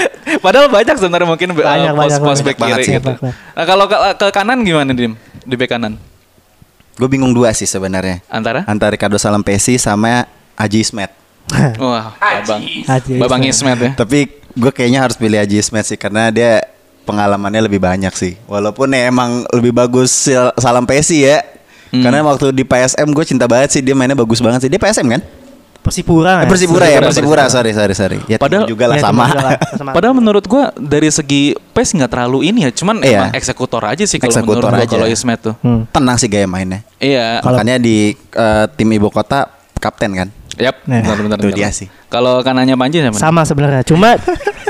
[SPEAKER 1] Padahal banyak sebenarnya mungkin uh,
[SPEAKER 2] Banyak,
[SPEAKER 1] pos, pos
[SPEAKER 2] banyak, banyak.
[SPEAKER 1] back
[SPEAKER 3] Banyak
[SPEAKER 1] kiri
[SPEAKER 3] sih,
[SPEAKER 1] gitu.
[SPEAKER 2] banyak.
[SPEAKER 1] Nah, kalau ke, ke kanan gimana Dim? Di back kanan?
[SPEAKER 3] Gue bingung dua sih sebenarnya.
[SPEAKER 1] Antara?
[SPEAKER 3] Antara Ricardo Salampesi sama Aji Ismet.
[SPEAKER 1] Wah, Babang.
[SPEAKER 2] Haji
[SPEAKER 1] Babang Ismet ya.
[SPEAKER 3] Tapi gue kayaknya harus pilih Aji Ismet sih karena dia pengalamannya lebih banyak sih. Walaupun ya emang lebih bagus Sil- Salam Pesi ya. Karena waktu di PSM gue cinta banget sih dia mainnya bagus banget sih. Dia PSM kan?
[SPEAKER 2] Persipura.
[SPEAKER 3] Eh,
[SPEAKER 2] ya?
[SPEAKER 3] Persipura ya,
[SPEAKER 1] Persipura.
[SPEAKER 3] Persipura. Sorry, sorry, sorry. Ya
[SPEAKER 1] Padahal-
[SPEAKER 3] juga lah
[SPEAKER 2] Ya,
[SPEAKER 3] sama.
[SPEAKER 2] juga lah, sama.
[SPEAKER 1] Padahal menurut gua dari segi pace nggak terlalu ini ya, cuman
[SPEAKER 3] Iya.
[SPEAKER 1] emang eksekutor aja sih kalau menurut
[SPEAKER 3] Eksekutor
[SPEAKER 1] gua
[SPEAKER 3] aja. ya.
[SPEAKER 1] kalau Ismet tuh.
[SPEAKER 2] Hmm.
[SPEAKER 3] Tenang sih gaya mainnya.
[SPEAKER 1] Iya.
[SPEAKER 2] Kalau-
[SPEAKER 3] Makanya di eh, tim ibu kota kapten kan.
[SPEAKER 1] Yap.
[SPEAKER 2] Nah,
[SPEAKER 1] Bentar, bentar,
[SPEAKER 3] itu
[SPEAKER 1] bentar.
[SPEAKER 3] dia sih.
[SPEAKER 1] Kalau kanannya Panji siapa? nih?
[SPEAKER 2] Sama sebenarnya. Cuma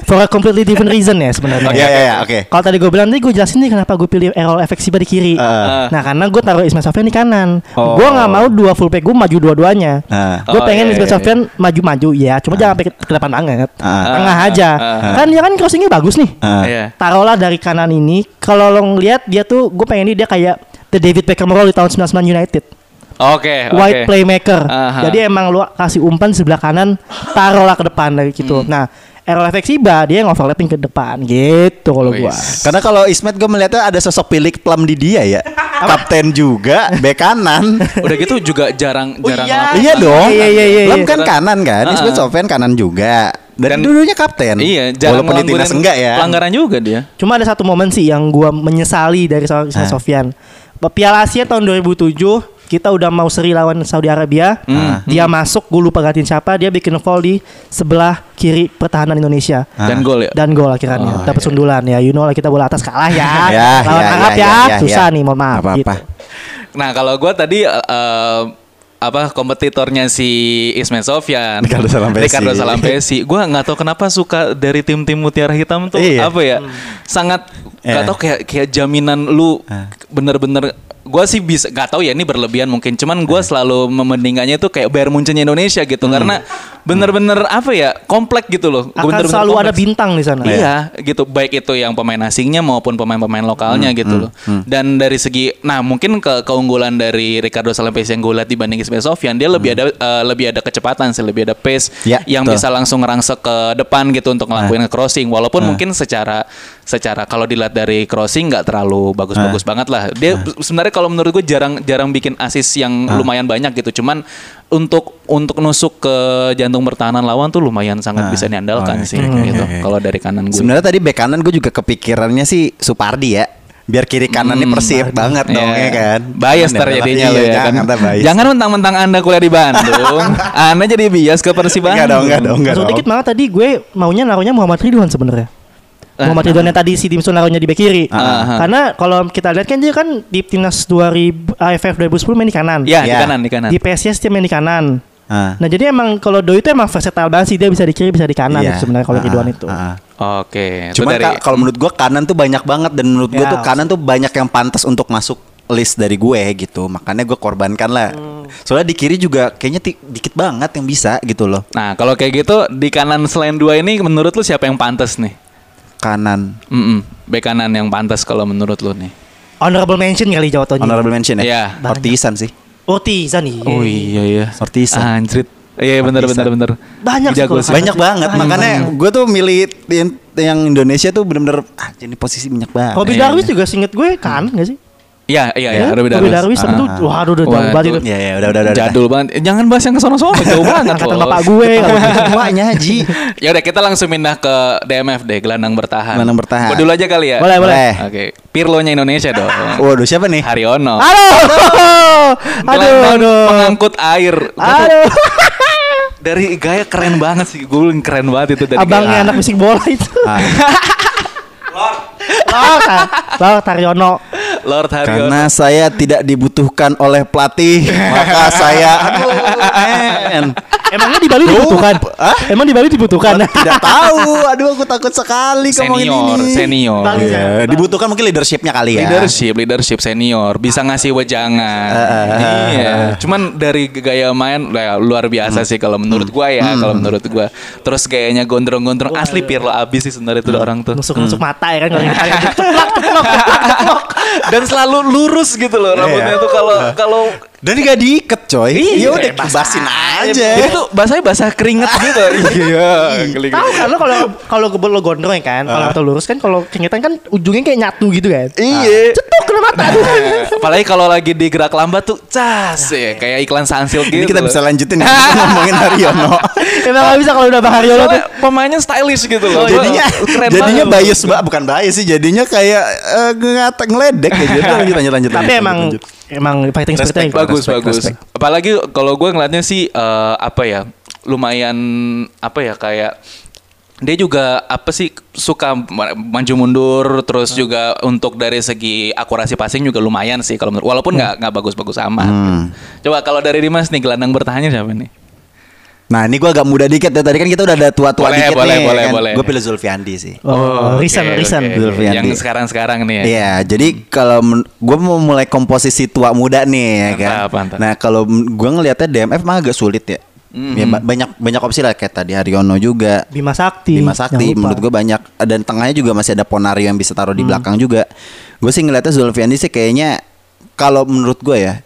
[SPEAKER 2] for a completely different reason ya sebenarnya.
[SPEAKER 3] Iya, iya, iya, oke.
[SPEAKER 2] Kalau tadi gue bilang nih gue jelasin nih kenapa gue pilih Errol efek Siba di kiri.
[SPEAKER 1] Ah,
[SPEAKER 3] Heeh.
[SPEAKER 2] Nah karena gue taruh Ismail Sofyan di kanan.
[SPEAKER 3] Ah. Oh. Ah.
[SPEAKER 2] Gue nggak mau dua fullback gue maju dua-duanya.
[SPEAKER 3] Heeh.
[SPEAKER 2] Gue
[SPEAKER 1] Oh,
[SPEAKER 2] pengen
[SPEAKER 1] iya,
[SPEAKER 2] Ismail
[SPEAKER 1] iya,
[SPEAKER 2] Sofyan maju-maju ya. Cuma jangan sampai ke- ke depan banget.
[SPEAKER 3] Ah.
[SPEAKER 2] Tengah
[SPEAKER 1] Ah,
[SPEAKER 2] aja.
[SPEAKER 1] ah,
[SPEAKER 2] Kan dia kan crossingnya bagus nih.
[SPEAKER 3] Heeh.
[SPEAKER 1] Iya.
[SPEAKER 2] Taruhlah dari kanan ini. Kalau lo ngeliat dia tuh gue pengen dia kayak The David Beckham role di tahun 99 United.
[SPEAKER 3] Nah.
[SPEAKER 1] Eh, Oke, oke.
[SPEAKER 2] Wide playmaker.
[SPEAKER 1] Aha.
[SPEAKER 2] Jadi emang lu kasih umpan sebelah kanan, taruhlah ke depan dari
[SPEAKER 1] Hmm.
[SPEAKER 2] gitu. Nah, Errol efek Siba dia yang overlapping ke depan gitu kalau gua.
[SPEAKER 1] Wis.
[SPEAKER 3] Karena kalau Ismet gue melihatnya ada sosok pilik plum di dia ya. Kapten juga, bek kanan.
[SPEAKER 1] Udah gitu juga jarang jarang
[SPEAKER 2] iya.
[SPEAKER 1] lapangan.
[SPEAKER 3] iya dong.
[SPEAKER 2] Iya, iya, iya,
[SPEAKER 3] Plum
[SPEAKER 2] iya.
[SPEAKER 3] kan kanan kan.
[SPEAKER 1] Heeh.
[SPEAKER 3] Ismet Sofian kanan juga. Dan,
[SPEAKER 1] Dan-
[SPEAKER 3] dulunya kapten.
[SPEAKER 1] Iya, jarang
[SPEAKER 3] Walaupun di
[SPEAKER 1] ngelanggurin
[SPEAKER 3] timnas enggak ya.
[SPEAKER 1] Pelanggaran juga dia.
[SPEAKER 2] Cuma ada satu momen sih yang gua menyesali dari seorang Ismail
[SPEAKER 3] Ah.
[SPEAKER 2] Sofyan. Piala Asia tahun 2007 kita udah mau seri lawan Saudi Arabia.
[SPEAKER 1] Hmm.
[SPEAKER 2] Dia masuk, gue lupa gantiin siapa, dia bikin foul di sebelah kiri pertahanan Indonesia.
[SPEAKER 3] Ah.
[SPEAKER 1] Dan gol ya.
[SPEAKER 2] Dan gol akhirnya, dapat sundulan ya. You know lah kita bola atas kalah ya.
[SPEAKER 3] Oh, iya. Ya,
[SPEAKER 2] lawan
[SPEAKER 3] ya,
[SPEAKER 2] Arab
[SPEAKER 3] ya,
[SPEAKER 2] ya,
[SPEAKER 3] ya, ya.
[SPEAKER 2] susah nih, mohon maaf.
[SPEAKER 3] Nggak apa-apa.
[SPEAKER 2] gitu.
[SPEAKER 1] Nah, kalau gua tadi eh, eh, apa kompetitornya si Ismet Sofyan,
[SPEAKER 3] Ricardo Salampesi.
[SPEAKER 1] Ricardo Salampesi. Gua nggak tahu kenapa suka dari tim-tim Mutiara Hitam tuh
[SPEAKER 3] Iya.
[SPEAKER 1] apa ya?
[SPEAKER 2] Hmm.
[SPEAKER 1] Sangat nggak
[SPEAKER 3] Iya.
[SPEAKER 1] tahu kayak kayak jaminan lu
[SPEAKER 3] Eh.
[SPEAKER 1] bener-bener gua sih bisa nggak tahu ya ini berlebihan mungkin cuman
[SPEAKER 3] Eh.
[SPEAKER 1] gua selalu memendingannya tuh kayak Bayern Munchen Indonesia gitu
[SPEAKER 3] Hmm.
[SPEAKER 1] karena bener-bener apa ya komplek gitu loh
[SPEAKER 2] Akan
[SPEAKER 1] Bener-bener
[SPEAKER 2] selalu ada
[SPEAKER 1] kompleks.
[SPEAKER 2] bintang di sana.
[SPEAKER 1] Iya, gitu. Baik itu yang pemain asingnya maupun pemain-pemain
[SPEAKER 3] Hmm,
[SPEAKER 1] lokalnya gitu loh. Dan dari segi, nah mungkin ke keunggulan dari Ricardo Salampes yang gue lihat dibanding Ismail Sofyan, dia lebih ada eh, lebih ada kecepatan sih, lebih ada pace
[SPEAKER 3] Hmm. Ya,
[SPEAKER 1] yang
[SPEAKER 3] betul. Nah.
[SPEAKER 1] bisa langsung ngerangsek ke depan gitu untuk ngelakuin crossing. Walaupun mungkin secara secara kalau dilihat dari crossing nggak terlalu
[SPEAKER 3] Nah.
[SPEAKER 1] bagus-bagus banget lah. Dia sebenarnya kalau menurut gue jarang jarang bikin assist yang
[SPEAKER 3] Nah.
[SPEAKER 1] lumayan banyak gitu. Cuman untuk untuk nusuk ke jantung pertahanan lawan tuh lumayan sangat bisa diandalkan
[SPEAKER 3] Oh,
[SPEAKER 1] sih
[SPEAKER 3] oke, oke,
[SPEAKER 1] gitu.
[SPEAKER 3] oke.
[SPEAKER 1] Kalau dari kanan gue.
[SPEAKER 3] Sebenarnya tadi bek kanan gue juga kepikirannya sih Supardi ya. Biar kiri kanannya persib banget dong
[SPEAKER 1] Iya.
[SPEAKER 3] ya kan.
[SPEAKER 1] Bias
[SPEAKER 3] Cuman
[SPEAKER 1] ntar
[SPEAKER 3] ya
[SPEAKER 1] jadinya
[SPEAKER 3] belakangnya
[SPEAKER 1] lu
[SPEAKER 3] lu
[SPEAKER 1] ya kan.
[SPEAKER 3] Jangan ntar bias.
[SPEAKER 1] Jangan mentang-mentang Anda kuliah di Bandung, Anda jadi bias ke Persib Bandung.
[SPEAKER 3] Enggak dong, enggak dong, enggak
[SPEAKER 2] Masuk
[SPEAKER 3] dong.
[SPEAKER 2] dikit malah tadi gue maunya naruhnya Muhammad Ridwan sebenarnya.
[SPEAKER 1] Ah.
[SPEAKER 2] Muhammad Ridwan yang tadi si Dimsum naruhnya di bek kiri.
[SPEAKER 1] Ah.
[SPEAKER 2] Karena kalau kita lihat kan dia kan di timnas ah, 2000 AFF 2010 main di kanan.
[SPEAKER 1] Ya, di
[SPEAKER 3] Ya.
[SPEAKER 1] kanan, di kanan.
[SPEAKER 2] Di PSIS dia main di kanan.
[SPEAKER 3] Ah.
[SPEAKER 2] Nah jadi emang kalau Doi itu emang versatile banget sih dia bisa di kiri bisa di kanan gitu
[SPEAKER 3] Iya.
[SPEAKER 2] sebenarnya kalau
[SPEAKER 3] Ah,
[SPEAKER 2] Ridwan
[SPEAKER 3] ah,
[SPEAKER 2] itu.
[SPEAKER 3] ah, ah.
[SPEAKER 1] Oke, itu
[SPEAKER 3] Cuman
[SPEAKER 1] dari
[SPEAKER 3] ka- kalau menurut gua kanan tuh banyak banget dan menurut gua
[SPEAKER 2] Ya.
[SPEAKER 3] tuh kanan tuh banyak yang pantas untuk masuk list dari gue gitu. Makanya gua korbankan lah. Soalnya di kiri juga kayaknya ti- dikit banget yang bisa gitu loh.
[SPEAKER 1] Nah, kalau kayak gitu di kanan selain dua ini menurut lu siapa yang pantas nih?
[SPEAKER 3] Kanan.
[SPEAKER 1] Mm bek kanan yang pantas kalau menurut lu nih.
[SPEAKER 2] Honorable mention kali jawabnya.
[SPEAKER 3] Honorable mention ya.
[SPEAKER 1] Iya.
[SPEAKER 3] Ortisan sih.
[SPEAKER 2] Orti Zani.
[SPEAKER 1] Oh iya iya.
[SPEAKER 3] Ortisan.
[SPEAKER 1] Anjrit. Iya benar benar benar.
[SPEAKER 2] Banyak sih
[SPEAKER 1] Jago
[SPEAKER 2] kalau
[SPEAKER 1] sih.
[SPEAKER 3] Banyak banget. Makanya gue tuh milih yang, yang Indonesia tuh bener-bener ah, jadi posisi banyak banget.
[SPEAKER 2] Robby
[SPEAKER 1] Iya,
[SPEAKER 2] Darwis juga singet gue kanan gak sih?
[SPEAKER 1] Iya iya iya,
[SPEAKER 2] Ya,
[SPEAKER 1] Robby
[SPEAKER 2] Robby Darwis
[SPEAKER 1] Ah,
[SPEAKER 2] itu
[SPEAKER 1] ah.
[SPEAKER 2] waduh udah
[SPEAKER 1] Wah,
[SPEAKER 2] jauh banget
[SPEAKER 1] itu-
[SPEAKER 2] itu.
[SPEAKER 3] Ya ya udah udah udah. udah.
[SPEAKER 1] Jadul banget. Eh, Jangan bahas yang ke sono-sono, jauh banget.
[SPEAKER 2] Angkatan
[SPEAKER 1] Bos.
[SPEAKER 2] bapak gue. kalau gitu.
[SPEAKER 3] Tuanya Haji.
[SPEAKER 1] Ya udah kita langsung pindah ke DMF deh, gelandang bertahan.
[SPEAKER 3] Gelandang bertahan.
[SPEAKER 1] Gua dulu aja kali ya.
[SPEAKER 2] Boleh, boleh.
[SPEAKER 1] Oke. Pirlo-nya Indonesia dong.
[SPEAKER 3] Waduh siapa nih?
[SPEAKER 1] Haryono.
[SPEAKER 2] Halo. Ah, Aduh.
[SPEAKER 1] Gelandang
[SPEAKER 2] Aduh.
[SPEAKER 1] pengangkut air. Gua tuh
[SPEAKER 2] Aduh.
[SPEAKER 1] dari gaya keren banget sih. Gue bilang keren banget itu dari gaya.
[SPEAKER 2] Abangnya anak bisik bola itu.
[SPEAKER 3] Ah,
[SPEAKER 2] Lor, Lor Taryono.
[SPEAKER 1] Lord Haryono.
[SPEAKER 3] karena saya tidak dibutuhkan oleh pelatih, maka saya aduh, men.
[SPEAKER 2] Emangnya di Bali dibutuhkan?
[SPEAKER 3] Hah?
[SPEAKER 2] Emang di Bali dibutuhkan?
[SPEAKER 3] tidak tahu. Aduh, aku takut sekali ngomongin
[SPEAKER 1] senior,
[SPEAKER 3] ini.
[SPEAKER 1] senior.
[SPEAKER 2] Bang,
[SPEAKER 3] Iya, dibutuhkan mungkin leadershipnya kali
[SPEAKER 2] Iya.
[SPEAKER 3] ya.
[SPEAKER 1] Leadership, leadership senior bisa ngasih wejangan.
[SPEAKER 2] Ah,
[SPEAKER 1] iya. Cuman dari gaya main lah, luar
[SPEAKER 2] Hmm.
[SPEAKER 1] biasa sih kalau menurut gua ya, kalau menurut gua. Terus gayanya gondrong-gondrong asli Pirlo abis sih sebenarnya
[SPEAKER 2] Hmm.
[SPEAKER 1] itu orang tuh.
[SPEAKER 2] Nusuk-nusuk
[SPEAKER 3] Hmm.
[SPEAKER 2] mata ya kan kalau ditarik gitu.
[SPEAKER 1] Dan selalu lurus gitu loh rambutnya
[SPEAKER 3] Iya.
[SPEAKER 1] tuh kalau
[SPEAKER 3] Nah.
[SPEAKER 1] kalau
[SPEAKER 3] Dan gak diikat coy.
[SPEAKER 1] Iya,
[SPEAKER 3] Iya udah basin
[SPEAKER 1] Jadi
[SPEAKER 3] aja.
[SPEAKER 1] tuh bahasanya basah keringet gitu. Iya, geli-geli.
[SPEAKER 2] Tahu kan lo kalau kalau gebel lo gondrong ya kan, kalau atau lurus kan kalau keringetan kan ujungnya kayak nyatu gitu kan.
[SPEAKER 1] Iya.
[SPEAKER 2] Cetuk kena mata. Aduh.
[SPEAKER 3] Nah,
[SPEAKER 1] Apalagi kalau lagi di gerak lambat tuh cas ya kayak iklan Sunsilk gitu.
[SPEAKER 3] iya.
[SPEAKER 1] Oh,
[SPEAKER 3] Ini kita
[SPEAKER 1] loh.
[SPEAKER 3] bisa lanjutin ya, ngomongin Haryono.
[SPEAKER 2] Emang gak bisa kalau udah Bang Haryono tuh.
[SPEAKER 1] Soalnya pemainnya stylish gitu loh.
[SPEAKER 3] Oh, jadinya
[SPEAKER 1] Keren
[SPEAKER 3] jadinya
[SPEAKER 1] banget.
[SPEAKER 3] bias mbak bukan bias sih jadinya kayak eh, ngata ngeledek ya jadi lanjut lanjut lanjut
[SPEAKER 2] Tapi
[SPEAKER 3] lanjut,
[SPEAKER 2] emang
[SPEAKER 3] lanjut.
[SPEAKER 2] emang fighting
[SPEAKER 3] Respect
[SPEAKER 2] spiritnya gitu.
[SPEAKER 1] bagus
[SPEAKER 3] respect,
[SPEAKER 1] bagus.
[SPEAKER 3] respect.
[SPEAKER 1] Apalagi kalau gue ngeliatnya sih eh, apa ya lumayan apa ya kayak dia juga apa sih suka ma- maju mundur
[SPEAKER 3] Hmm.
[SPEAKER 1] terus juga untuk dari segi akurasi passing juga lumayan sih kalau menurut
[SPEAKER 3] Hmm.
[SPEAKER 1] walaupun nggak nggak bagus-bagus amat. Coba kalau dari Dimas nih gelandang bertahannya siapa nih?
[SPEAKER 3] nah ini gua agak muda dikit ya tadi kan kita udah ada tua tua
[SPEAKER 1] Boleh,
[SPEAKER 3] dikit
[SPEAKER 1] boleh,
[SPEAKER 3] nih
[SPEAKER 1] boleh,
[SPEAKER 3] kan.
[SPEAKER 1] boleh.
[SPEAKER 3] gue pilih Zulfiandi sih
[SPEAKER 2] Oh,
[SPEAKER 1] oke,
[SPEAKER 2] Risan,
[SPEAKER 1] oke.
[SPEAKER 2] Risan.
[SPEAKER 3] Zulfiandi.
[SPEAKER 1] Yang sekarang-sekarang nih ya.
[SPEAKER 3] Iya, jadi kalau men- gua mau mulai komposisi tua muda nih ya kan.
[SPEAKER 1] Mantap, mantap.
[SPEAKER 3] Nah, kalau men- gua ngelihatnya DMF mah agak sulit ya. Ya,
[SPEAKER 1] Mhm.
[SPEAKER 3] ba- banyak banyak opsi lah kayak tadi Haryono juga.
[SPEAKER 2] Bima Sakti.
[SPEAKER 3] Bima Sakti
[SPEAKER 2] jangan lupa. Hmm.
[SPEAKER 3] menurut gue banyak dan tengahnya juga masih ada Ponario yang bisa taruh di belakang juga. Gue sih ngeliatnya Zulfiandi sih kayaknya kalau menurut gue ya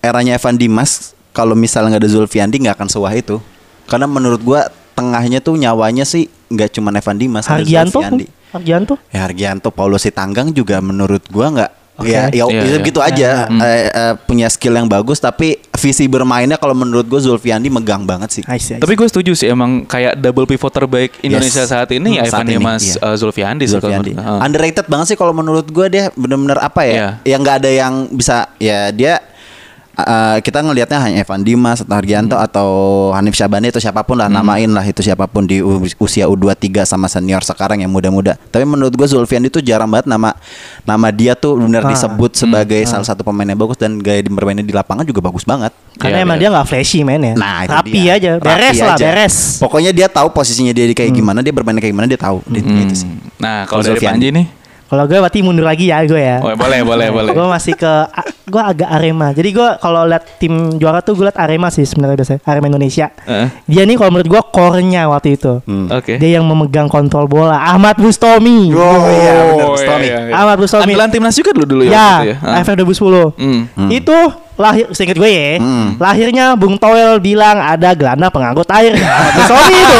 [SPEAKER 3] eranya Evan Dimas kalau misalnya nggak ada Zulfiandi nggak akan sewah itu. Karena menurut gue tengahnya tuh nyawanya sih nggak cuma Evan Dimas ada
[SPEAKER 2] Hargianto.
[SPEAKER 3] Zulfiandi.
[SPEAKER 2] Hargianto.
[SPEAKER 3] Ya Hargianto, Paulo Sitanggang juga menurut gua nggak
[SPEAKER 2] Oke.
[SPEAKER 3] Ya, ya,
[SPEAKER 1] Iya,
[SPEAKER 3] ya
[SPEAKER 1] iya.
[SPEAKER 3] gitu aja Eh, eh, punya skill yang bagus tapi visi bermainnya kalau menurut gue Zulfiandi megang banget sih.
[SPEAKER 2] I see, I see.
[SPEAKER 1] Tapi gue setuju sih emang kayak double pivot terbaik Indonesia
[SPEAKER 3] Yes.
[SPEAKER 1] saat ini ya
[SPEAKER 3] Hmm,
[SPEAKER 1] Evan
[SPEAKER 3] saat ini,
[SPEAKER 1] Dimas
[SPEAKER 3] iya.
[SPEAKER 1] uh, Zulfiandi sih kalau menurut
[SPEAKER 3] Zulfiandi.
[SPEAKER 1] gue. Heeh.
[SPEAKER 3] Underrated banget sih kalau menurut gue dia benar-benar apa ya?
[SPEAKER 1] Iya.
[SPEAKER 3] Yang nggak ada yang bisa ya dia eh, kita ngelihatnya hanya Evan Dimas atau Hargianto
[SPEAKER 1] Hmm.
[SPEAKER 3] atau Hanif Syabani atau siapapun lah namain lah itu siapapun di u- usia U23 sama senior sekarang yang muda-muda. Tapi menurut gue Zulfiandi tuh jarang banget nama nama dia tuh benar
[SPEAKER 2] Ah.
[SPEAKER 3] disebut
[SPEAKER 1] Hmm,
[SPEAKER 3] sebagai salah satu pemain yang bagus dan gaya bermainnya di lapangan juga bagus banget.
[SPEAKER 1] Iya,
[SPEAKER 2] Karena emang
[SPEAKER 1] iya.
[SPEAKER 2] dia gak flashy mainnya.
[SPEAKER 3] Nah, itu
[SPEAKER 2] Rapi
[SPEAKER 3] dia.
[SPEAKER 2] aja,
[SPEAKER 3] Rapi
[SPEAKER 2] beres lah,
[SPEAKER 3] aja.
[SPEAKER 2] beres. Hmm.
[SPEAKER 3] Pokoknya dia tahu posisinya dia kayak gimana, dia bermainnya kayak gimana, dia tahu. Dia- Gitu sih.
[SPEAKER 1] Nah kalau dari
[SPEAKER 3] Zulfiandi.
[SPEAKER 1] Panji nih,
[SPEAKER 2] Kalau gue berarti mundur lagi ya gue ya.
[SPEAKER 1] oh, boleh boleh boleh.
[SPEAKER 2] Gue masih ke a- gue agak Arema. Jadi gue kalau lihat tim juara tuh gue lihat Arema sih sebenarnya biasanya Arema Indonesia.
[SPEAKER 1] Heeh.
[SPEAKER 2] Dia nih kalau menurut gue core-nya waktu itu.
[SPEAKER 1] Hmm, Oke.
[SPEAKER 2] Dia yang memegang kontrol bola. Ahmad Bustomi.
[SPEAKER 3] Oh
[SPEAKER 2] ya,
[SPEAKER 3] iya, benar, Tommy.
[SPEAKER 2] Ahmad Bustomi.
[SPEAKER 1] Andalan timnas juga dulu dulu ya. waktu itu
[SPEAKER 2] Ya,
[SPEAKER 1] Heeh.
[SPEAKER 2] AFF 2010.
[SPEAKER 1] Hmm.
[SPEAKER 2] Itu lahir seinget gue ya. Lahirnya Bung Toel bilang ada gelandang pengangkut air. Ahmad Bustomi itu.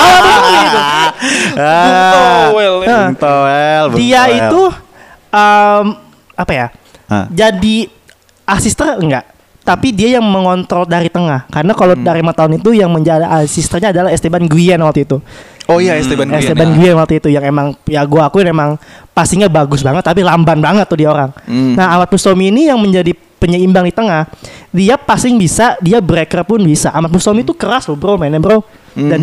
[SPEAKER 2] Ahmad Bustomi itu.
[SPEAKER 3] Ah,
[SPEAKER 1] Bung Toel, ya.
[SPEAKER 3] Bung Toel, Bung
[SPEAKER 2] Dia
[SPEAKER 3] Toel.
[SPEAKER 2] itu em, apa ya?
[SPEAKER 3] Hah.
[SPEAKER 2] Jadi asister enggak? Tapi dia yang mengontrol dari tengah. Karena kalau
[SPEAKER 1] Hmm.
[SPEAKER 2] dari lima tahun itu yang menjadi asisternya adalah Esteban Guyen waktu itu.
[SPEAKER 1] Oh iya Esteban Guian.
[SPEAKER 2] Esteban Ya. Guyen waktu itu yang emang ya gua akuin emang passingnya bagus banget tapi lamban banget tuh dia orang.
[SPEAKER 1] Hmm.
[SPEAKER 2] Nah, Ahmad Mustomi ini yang menjadi penyeimbang di tengah. Dia passing bisa, dia breaker pun bisa. Ahmad Mustomi itu keras loh, Bro, mainnya, Bro. Dan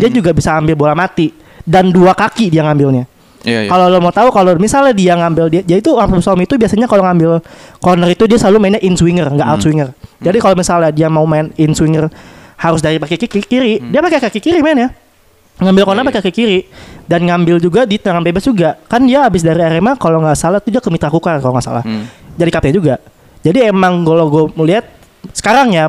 [SPEAKER 1] Hmm.
[SPEAKER 2] dia juga bisa ambil bola mati dan dua kaki dia ngambilnya.
[SPEAKER 1] Iya, iya.
[SPEAKER 2] Kalau lo mau tahu kalau misalnya dia ngambil dia, dia itu Ahmad Mustomi itu biasanya kalau ngambil corner itu dia selalu mainnya in swinger, nggak
[SPEAKER 1] Hmm.
[SPEAKER 2] out swinger. Jadi kalau misalnya dia mau main in swinger harus dari pakai kaki kiri,
[SPEAKER 1] Hmm.
[SPEAKER 2] dia pakai kaki kiri main ya. Ngambil corner
[SPEAKER 1] Iya,
[SPEAKER 2] pakai kaki kiri dan ngambil juga di tangan bebas juga. Kan dia habis dari Arema kalau nggak salah tuh dia ke Mitra Kukar kalau nggak salah.
[SPEAKER 1] Hmm.
[SPEAKER 2] Jadi kapten juga. Jadi emang kalau gue melihat sekarang ya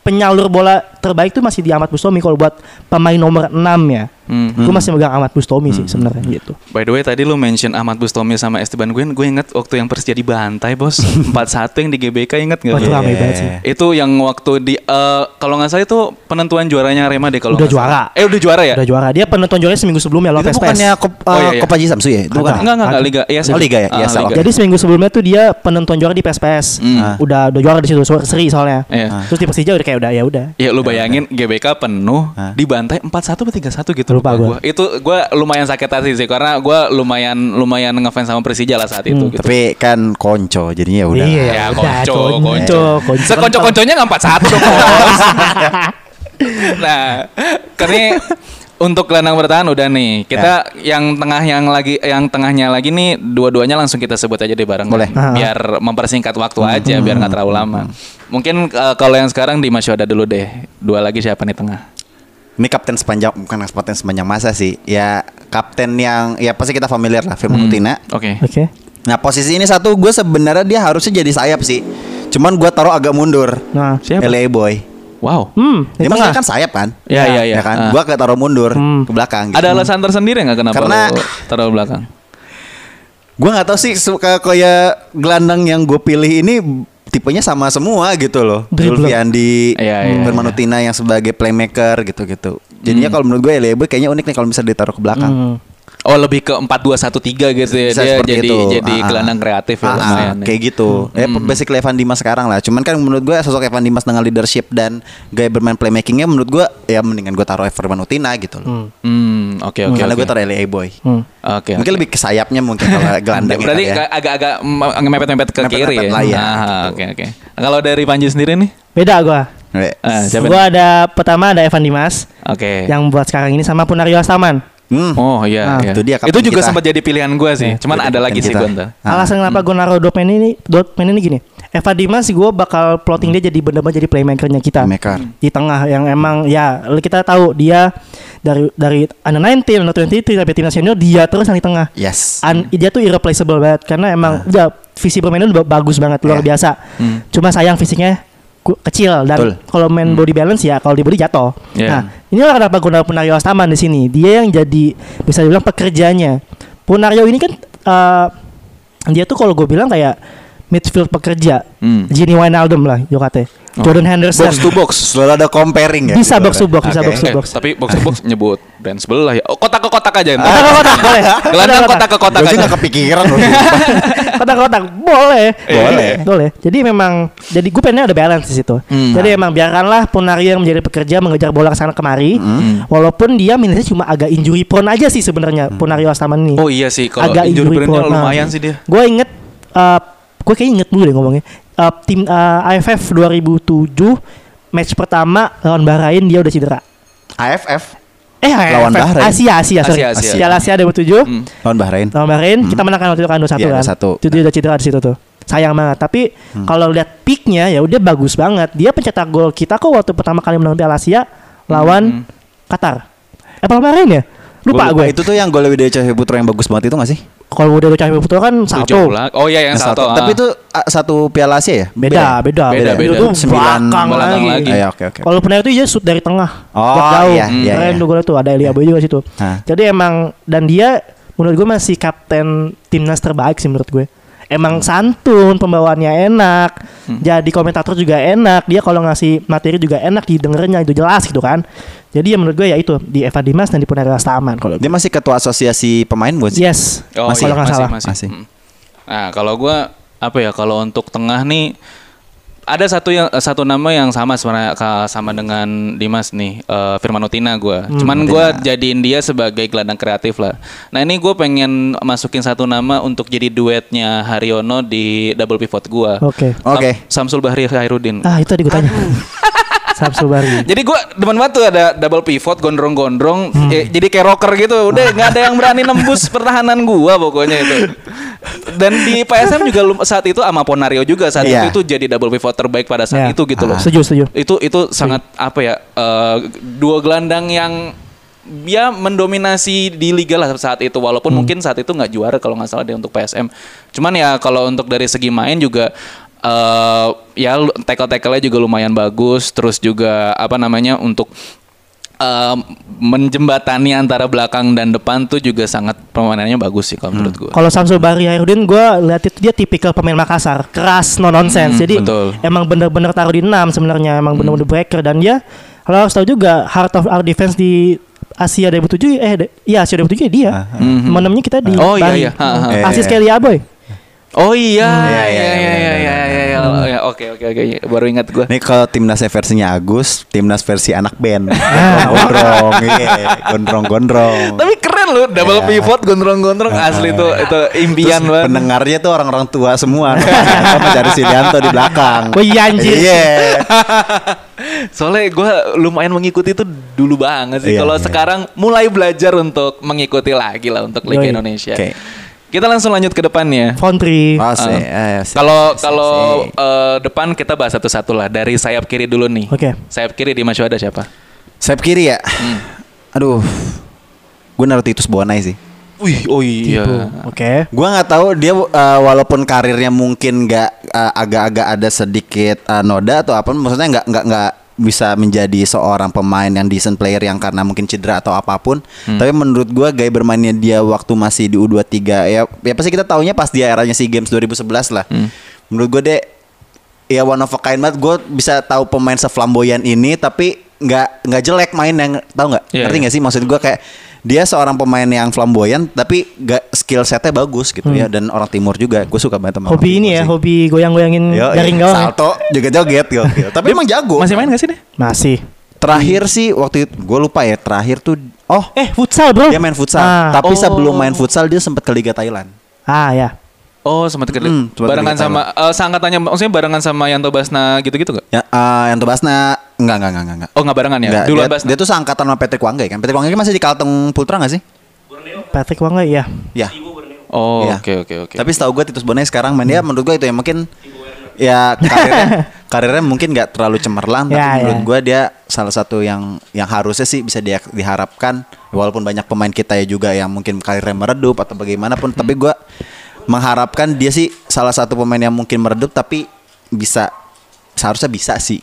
[SPEAKER 2] penyalur bola terbaik tuh masih di Ahmad Bustomi kalau buat pemain nomor 6 ya.
[SPEAKER 1] Hmm.
[SPEAKER 2] Gue masih megang Ahmad Bustomi sih sebenarnya gitu.
[SPEAKER 1] By the way tadi lu mention Ahmad Bustomi sama Esteban Guian, gue inget waktu yang Persija dibantai bos 4-1 yang di GBK inget gak?
[SPEAKER 2] Wah, itu rame banget sih.
[SPEAKER 1] Itu yang waktu di eh, kalau nggak salah itu penentuan juaranya Arema deh kalau
[SPEAKER 2] Udah
[SPEAKER 1] nggak salah.
[SPEAKER 2] juara.
[SPEAKER 1] Eh udah juara ya?
[SPEAKER 2] Udah juara. Dia penonton juara seminggu sebelumnya
[SPEAKER 3] itu
[SPEAKER 2] Lopez Pes.
[SPEAKER 3] bukannya
[SPEAKER 1] Oh,
[SPEAKER 3] kop,
[SPEAKER 1] iya,
[SPEAKER 2] ah,
[SPEAKER 3] eh,
[SPEAKER 1] iya.
[SPEAKER 3] Kopaji Samsu ya? Itu bukan.
[SPEAKER 1] Enggak, enggak, enggak, Liga ISL.
[SPEAKER 3] Oh, Liga ya?
[SPEAKER 1] Ah,
[SPEAKER 3] ISL,
[SPEAKER 1] Liga.
[SPEAKER 3] oke.
[SPEAKER 2] Jadi seminggu sebelumnya tuh dia penonton juara di PSPS.
[SPEAKER 1] Hmm.
[SPEAKER 2] Ah. Udah udah juara di situ so- seri soalnya. Ah.
[SPEAKER 1] Iya.
[SPEAKER 2] Terus di Persija udah kayak udah ya udah.
[SPEAKER 1] Ya lu bayangin GBK penuh
[SPEAKER 3] Hah?
[SPEAKER 1] dibantai 4-1 atau 3-1 gitu lupa
[SPEAKER 2] Lupa gua.
[SPEAKER 1] gua. Itu gua lumayan sakit hati sih karena gua lumayan lumayan ngefans sama Persija lah saat itu gitu.
[SPEAKER 3] Tapi kan konco jadinya ya udah.
[SPEAKER 2] Iya,
[SPEAKER 1] Ya,
[SPEAKER 2] udah,
[SPEAKER 1] konco,
[SPEAKER 2] konco,
[SPEAKER 1] konco.
[SPEAKER 2] konco.
[SPEAKER 1] Sekonco-konconya nggak 4-1 dong. bos. Nah, karena untuk gelandang bertahan udah nih. Kita yang tengah yang lagi yang tengahnya lagi nih dua-duanya langsung kita sebut aja deh bareng.
[SPEAKER 3] Boleh.
[SPEAKER 2] Ah.
[SPEAKER 1] Biar mempersingkat waktu aja biar nggak terlalu lama. Mungkin eh, kalau yang sekarang Dimas Yoda dulu deh. Dua lagi siapa nih tengah?
[SPEAKER 3] Ini kapten sepanjang bukan kapten sepanjang masa sih. Ya kapten yang ya pasti kita familiar lah Firman
[SPEAKER 2] Hmm.
[SPEAKER 3] Utina.
[SPEAKER 1] Oke.
[SPEAKER 2] Oke.
[SPEAKER 3] Nah posisi ini satu gue sebenarnya dia harusnya jadi sayap sih. Cuman gue taruh agak mundur.
[SPEAKER 2] Nah.
[SPEAKER 1] Siapa?
[SPEAKER 3] LA Boy.
[SPEAKER 1] Wow.
[SPEAKER 2] Hmm, di
[SPEAKER 3] Dia maksudnya
[SPEAKER 2] tengah.
[SPEAKER 3] kan sayap kan?
[SPEAKER 1] Ya, ya, ya.
[SPEAKER 3] kan?
[SPEAKER 1] Ah.
[SPEAKER 3] Gue agak taruh mundur
[SPEAKER 2] Hmm.
[SPEAKER 3] ke belakang.
[SPEAKER 1] Ada alasan tersendiri nggak kenapa
[SPEAKER 3] Gitu. Karena-
[SPEAKER 1] lo taruh belakang?
[SPEAKER 3] Gue nggak tahu sih suka kayak gelandang yang gue pilih ini tipenya sama semua gitu loh.
[SPEAKER 2] Dribbler.
[SPEAKER 3] Zulfiandi,
[SPEAKER 1] Iya, iya, Hmm.
[SPEAKER 3] Firman
[SPEAKER 1] iya.
[SPEAKER 3] Utina yang sebagai playmaker gitu-gitu. Jadinya kalau menurut gue LA Boy kayaknya unik nih kalau bisa ditaruh ke belakang.
[SPEAKER 2] Hmm.
[SPEAKER 1] Oh lebih ke 4-2-1-3 gitu ya
[SPEAKER 3] Bisa
[SPEAKER 1] Dia
[SPEAKER 3] seperti
[SPEAKER 1] jadi
[SPEAKER 3] itu.
[SPEAKER 1] jadi
[SPEAKER 3] Ah, ah.
[SPEAKER 1] gelandang kreatif ya
[SPEAKER 3] Ah, ah,
[SPEAKER 1] lumayan ya.
[SPEAKER 3] kayak gitu. Ya basically Evan Dimas sekarang lah. Cuman kan menurut gue sosok Evan Dimas dengan leadership dan gaya bermain playmakingnya menurut gue ya mendingan gue taruh Evan Utina gitu loh.
[SPEAKER 1] Hmm oke oke
[SPEAKER 3] Karena
[SPEAKER 1] oke.
[SPEAKER 3] gue taruh LA Boy.
[SPEAKER 2] Hmm.
[SPEAKER 1] Oke
[SPEAKER 3] mungkin lebih ke sayapnya mungkin kalau gelandang ya
[SPEAKER 1] Berarti
[SPEAKER 3] kali ya.
[SPEAKER 1] ka- agak-agak m- ngemepet-mepet ke
[SPEAKER 3] Mepet-mepet
[SPEAKER 1] kiri ya.
[SPEAKER 3] lah ya,
[SPEAKER 1] Ah, Oke oke. Kalau dari Panji sendiri nih?
[SPEAKER 2] Beda gua.
[SPEAKER 3] Oke.
[SPEAKER 1] Ah, siapa nih?
[SPEAKER 2] Gua ada pertama ada Evan Dimas
[SPEAKER 1] Oke.
[SPEAKER 2] yang buat sekarang ini sama Punario Astaman.
[SPEAKER 3] Hmm.
[SPEAKER 1] Oh iya
[SPEAKER 2] Ah,
[SPEAKER 1] iya.
[SPEAKER 3] itu dia kapten
[SPEAKER 1] Itu juga
[SPEAKER 3] kita.
[SPEAKER 1] sempat jadi pilihan gue sih. Cuman ada
[SPEAKER 3] Jadi kapten
[SPEAKER 1] lagi sih
[SPEAKER 3] kita.
[SPEAKER 1] gue ntar.
[SPEAKER 3] Ah.
[SPEAKER 2] Alasan kenapa gue naruh Dotman ini Dotman ini gini Evan Dimas gue bakal plotting dia jadi bener-bener jadi playmakernya kita
[SPEAKER 3] Playmaker.
[SPEAKER 2] Di tengah yang emang ya kita tahu dia dari dari under 19, under 23 sampai timnas senior dia terus yang di tengah
[SPEAKER 3] Yes.
[SPEAKER 2] Un- dia tuh irreplaceable banget karena
[SPEAKER 3] Ah.
[SPEAKER 2] emang udah visi bermainnya udah ba- bagus banget luar
[SPEAKER 3] Iya.
[SPEAKER 2] biasa. Cuma sayang fisiknya ku- kecil
[SPEAKER 3] Betul. Hmm.
[SPEAKER 2] dan kalau main body balance ya kalau di body jatuh.
[SPEAKER 1] Iya.
[SPEAKER 2] Nah, inilah kenapa Gunawan Punario Astaman di sini. Dia yang jadi bisa dibilang pekerjanya. Punario ini kan eh, dia tuh kalau gue bilang kayak midfield pekerja.
[SPEAKER 1] Hmm.
[SPEAKER 2] Gini Wijnaldum lah Yokate. Jordan Henderson.
[SPEAKER 3] Oh. Box to box. Selalu ada comparing ya.
[SPEAKER 2] Bisa
[SPEAKER 3] gitu
[SPEAKER 2] box to
[SPEAKER 3] kan.
[SPEAKER 2] box, bisa
[SPEAKER 3] Oke.
[SPEAKER 2] box to
[SPEAKER 1] Eh,
[SPEAKER 2] box.
[SPEAKER 1] tapi box to box nyebut brand sebelah ya. Oh, kotak ke kotak aja. ntar.
[SPEAKER 2] Kotak-kotak boleh.
[SPEAKER 1] Gelandang kotak ke kotak
[SPEAKER 3] Gue sih
[SPEAKER 1] aja.
[SPEAKER 3] nggak kepikiran loh.
[SPEAKER 2] kotak-kotak boleh
[SPEAKER 1] Iya,
[SPEAKER 3] Boleh.
[SPEAKER 2] boleh jadi memang jadi gue pengennya ada balance di situ
[SPEAKER 1] Hmm.
[SPEAKER 2] jadi emang biarkanlah Ponario yang menjadi pekerja mengejar bola kesana kemari
[SPEAKER 1] Hmm.
[SPEAKER 2] walaupun dia minusnya cuma agak injury prone aja sih sebenarnya Ponario Astaman ini
[SPEAKER 1] Oh iya sih kalau injury prone-nya lumayan sih dia.
[SPEAKER 2] gue inget eh, gue kayaknya inget dulu deh ngomongnya Eh, tim eh, AFF 2007 match pertama lawan Bahrain dia udah cedera
[SPEAKER 3] AFF
[SPEAKER 2] eh
[SPEAKER 3] Lawan
[SPEAKER 2] AFF,
[SPEAKER 3] Bahrain.
[SPEAKER 2] Asia Asia sorry
[SPEAKER 1] Asia, Asia.
[SPEAKER 2] Piala Asia 2007
[SPEAKER 1] Hmm.
[SPEAKER 3] lawan Bahrain.
[SPEAKER 2] lawan Bahrain kita menang kan waktu itu kan 2-1
[SPEAKER 3] Iya,
[SPEAKER 2] kan.
[SPEAKER 3] 2-1.
[SPEAKER 2] Itu dia udah cedera di situ tuh. Sayang banget. Tapi kalau lihat peaknya ya udah bagus banget. Dia pencetak gol kita kok waktu pertama kali menang Piala Asia lawan Qatar. Eh apa Bahrain ya? Lupa gue.
[SPEAKER 3] Itu tuh yang gol Widya Cahyo Putra yang bagus banget itu gak sih?
[SPEAKER 2] Kalau udah Cahyo Putra kan
[SPEAKER 1] Itu
[SPEAKER 2] satu.
[SPEAKER 1] jauh lah. Oh iya yang satu. ah.
[SPEAKER 3] Tapi itu ah, satu Piala Asia ya?
[SPEAKER 2] Beda, beda,
[SPEAKER 1] Beda, beda.
[SPEAKER 2] Itu
[SPEAKER 3] Sembilan-
[SPEAKER 2] belakang
[SPEAKER 1] belakang
[SPEAKER 2] lagi. Iya.
[SPEAKER 1] lagi.
[SPEAKER 3] Ah, ya, Oke oke.
[SPEAKER 2] Kalau pernah itu dia shoot dari tengah.
[SPEAKER 3] Oh,
[SPEAKER 2] Shot jauh. Hmm,
[SPEAKER 3] iya, iya,
[SPEAKER 2] Keren
[SPEAKER 3] iya.
[SPEAKER 2] tuh golnya tuh ada Eli Aboy juga situ.
[SPEAKER 3] Hah.
[SPEAKER 2] Jadi emang dan dia menurut gue masih kapten timnas terbaik sih menurut gue.
[SPEAKER 3] Hmm.
[SPEAKER 2] Emang santun, pembawaannya enak. Jadi komentator juga enak. Dia kalau ngasih materi juga enak didengarnya itu jelas gitu kan. Jadi ya menurut gue ya itu di Evan Dimas dan di Punara Staman kalau
[SPEAKER 3] Dia masih ketua asosiasi pemain bukan sih?
[SPEAKER 2] Yes.
[SPEAKER 1] Oh,
[SPEAKER 2] kalau
[SPEAKER 1] iya,
[SPEAKER 2] nggak salah.
[SPEAKER 1] Masih,
[SPEAKER 3] Masih.
[SPEAKER 1] Mm. Nah, kalau gua apa ya kalau untuk tengah nih ada satu yang satu nama yang sama sebenarnya ka- sama dengan Dimas nih eh, Firman Utina gua. Cuman gua jadiin dia sebagai gelandang kreatif lah. Nah, ini gue pengen masukin satu nama untuk jadi duetnya Haryono di double pivot gua.
[SPEAKER 2] Oke.
[SPEAKER 1] Sam-
[SPEAKER 3] Oke.
[SPEAKER 1] Samsul Bahri Khairuddin.
[SPEAKER 2] Ah, itu tadi gue tanya. Samsu Bari.
[SPEAKER 1] Jadi gue demen banget tuh ada double pivot gondrong-gondrong ya, jadi kayak rocker gitu. Udah nggak ada yang berani nembus pertahanan gua pokoknya itu. Dan di PSM juga lum- saat itu sama Ponario juga saat
[SPEAKER 3] Iya.
[SPEAKER 1] itu itu jadi double pivot terbaik pada saat
[SPEAKER 2] Ya.
[SPEAKER 1] itu gitu loh.
[SPEAKER 2] Setuju, setuju.
[SPEAKER 1] Itu itu sangat apa ya eh, dua gelandang yang dia mendominasi di liga lah saat itu walaupun mungkin saat itu nggak juara kalau nggak salah dia untuk PSM. Cuman ya kalau untuk dari segi main juga eh ya tackle tackle-nya juga lumayan bagus terus juga apa namanya untuk eh, menjembatani antara belakang dan depan tuh juga sangat permainannya bagus sih kalau menurut gue.
[SPEAKER 2] Kalau Samsul Bahri Hairudin gue lihat itu dia tipikal pemain Makassar, keras, no nonsense. Jadi
[SPEAKER 1] Hmm, betul. Hmm.
[SPEAKER 2] emang bener-bener taruh di 6 sebenarnya, emang bener-bener breaker dan dia kalau harus tahu juga heart of our defense di Asia 2007 eh de- iya Asia 2007 ya dia. Menemnya kita di
[SPEAKER 1] Hmm. Oh, iya,
[SPEAKER 2] Bali.
[SPEAKER 1] iya. Ha, ha.
[SPEAKER 2] Asis
[SPEAKER 3] Ah, Eh.
[SPEAKER 2] Kelly Aboy.
[SPEAKER 1] Oh iya,
[SPEAKER 3] iya,
[SPEAKER 1] iya,
[SPEAKER 3] iya,
[SPEAKER 1] iya,
[SPEAKER 3] iya,
[SPEAKER 1] iya, iya,
[SPEAKER 3] iya,
[SPEAKER 1] iya,
[SPEAKER 3] iya.
[SPEAKER 1] L oh ya, oke oke oke baru ingat gua.
[SPEAKER 3] Ini kalau timnasnya versinya Agus, timnas versi anak band.
[SPEAKER 2] Nah.
[SPEAKER 3] gondrong, iya, gondrong, gondrong.
[SPEAKER 1] Tapi keren loh double
[SPEAKER 3] Iya.
[SPEAKER 1] pivot gondrong-gondrong asli tuh itu impian
[SPEAKER 3] Terus
[SPEAKER 1] banget.
[SPEAKER 3] pendengarnya tuh orang-orang tua semua. Sama dari Silianto di belakang.
[SPEAKER 1] Oh
[SPEAKER 2] Wih, anjir.
[SPEAKER 3] Iya.
[SPEAKER 1] Soalnya gua lumayan mengikuti itu dulu banget sih.
[SPEAKER 3] Iya,
[SPEAKER 1] Kalau
[SPEAKER 3] iya.
[SPEAKER 1] sekarang mulai belajar untuk mengikuti lagi lah untuk Liga
[SPEAKER 2] Yoi.
[SPEAKER 1] Indonesia.
[SPEAKER 3] Oke.
[SPEAKER 1] Kita langsung lanjut ke depannya.
[SPEAKER 2] Fontri.
[SPEAKER 3] Asik,
[SPEAKER 1] Eh,
[SPEAKER 3] asik,
[SPEAKER 1] Kalau
[SPEAKER 3] asik,
[SPEAKER 1] kalau
[SPEAKER 3] asik.
[SPEAKER 1] eh, depan kita bahas satu-satu lah dari sayap kiri dulu nih.
[SPEAKER 2] Oke.
[SPEAKER 1] Sayap kiri di Masyu ada siapa?
[SPEAKER 3] sayap kiri ya.
[SPEAKER 1] Hmm.
[SPEAKER 3] Aduh. Gue naruh Titus Bonai sih.
[SPEAKER 1] Wih, oh iya.
[SPEAKER 2] Tipu.
[SPEAKER 3] Ah.
[SPEAKER 2] Oke.
[SPEAKER 3] Gua nggak tahu dia uh, walaupun karirnya mungkin nggak uh, agak-agak ada sedikit uh, noda atau apa, maksudnya nggak nggak nggak bisa menjadi seorang pemain yang decent player yang karena mungkin cedera atau apapun.
[SPEAKER 1] Hmm.
[SPEAKER 3] Tapi menurut gua gaya bermainnya dia waktu masih di U23 ya ya pasti kita taunya pas dia eranya SEA Games 2011 lah.
[SPEAKER 1] Hmm.
[SPEAKER 3] Menurut gua deh ya one of a kind banget gue bisa tahu pemain seflamboyan ini tapi nggak nggak jelek main yang tahu nggak
[SPEAKER 1] Iya,
[SPEAKER 3] ngerti
[SPEAKER 1] iya.
[SPEAKER 3] nggak sih maksud gue kayak dia seorang pemain yang flamboyan tapi nggak skill setnya bagus gitu ya dan orang timur juga gue suka banget sama
[SPEAKER 2] Hmm. Hobi ini ya, hobi goyang-goyangin
[SPEAKER 3] dari
[SPEAKER 2] jaring gawang. ya.
[SPEAKER 3] salto joget-joget gokil. tapi emang jago
[SPEAKER 1] Masih main gak sih deh?
[SPEAKER 2] Masih.
[SPEAKER 3] terakhir sih waktu itu gue lupa ya terakhir tuh oh
[SPEAKER 2] Eh, futsal, Bro.
[SPEAKER 3] dia main futsal
[SPEAKER 2] Ah,
[SPEAKER 3] tapi
[SPEAKER 1] Oh.
[SPEAKER 3] sebelum main futsal dia sempat ke liga Thailand
[SPEAKER 2] ah ya.
[SPEAKER 1] Oh, sempat ke
[SPEAKER 3] Hmm, sempat
[SPEAKER 1] barengan
[SPEAKER 3] ke Liga
[SPEAKER 1] sama eh sangkatannya maksudnya barengan sama Yanto Basna gitu-gitu gak?
[SPEAKER 3] ya eh, yang Basna enggak enggak enggak enggak, enggak.
[SPEAKER 1] Oh, nggak barengan ya?
[SPEAKER 3] Nggak,
[SPEAKER 1] Duluan
[SPEAKER 3] dia,
[SPEAKER 1] Basna.
[SPEAKER 3] dia tuh seangkatan sama Patrick Wangga ya kan? Patrick Wangga masih di Kalteng Putra nggak sih?
[SPEAKER 2] Patrick Wangga ya.
[SPEAKER 3] Ya.
[SPEAKER 1] oh,
[SPEAKER 3] Iya.
[SPEAKER 1] oke oke oke. Hmm.
[SPEAKER 3] Tapi setahu gue Titus Bonet sekarang main dia menurut gue itu yang mungkin ya karirnya, karirnya mungkin nggak terlalu cemerlang tapi
[SPEAKER 2] Ya,
[SPEAKER 3] menurut
[SPEAKER 2] ya.
[SPEAKER 3] gue dia salah satu yang yang harusnya sih bisa dia diharapkan walaupun banyak pemain kita ya juga yang mungkin karirnya meredup atau bagaimanapun tapi
[SPEAKER 1] Hmm.
[SPEAKER 3] gue mengharapkan dia sih salah satu pemain yang mungkin meredup tapi bisa seharusnya bisa sih.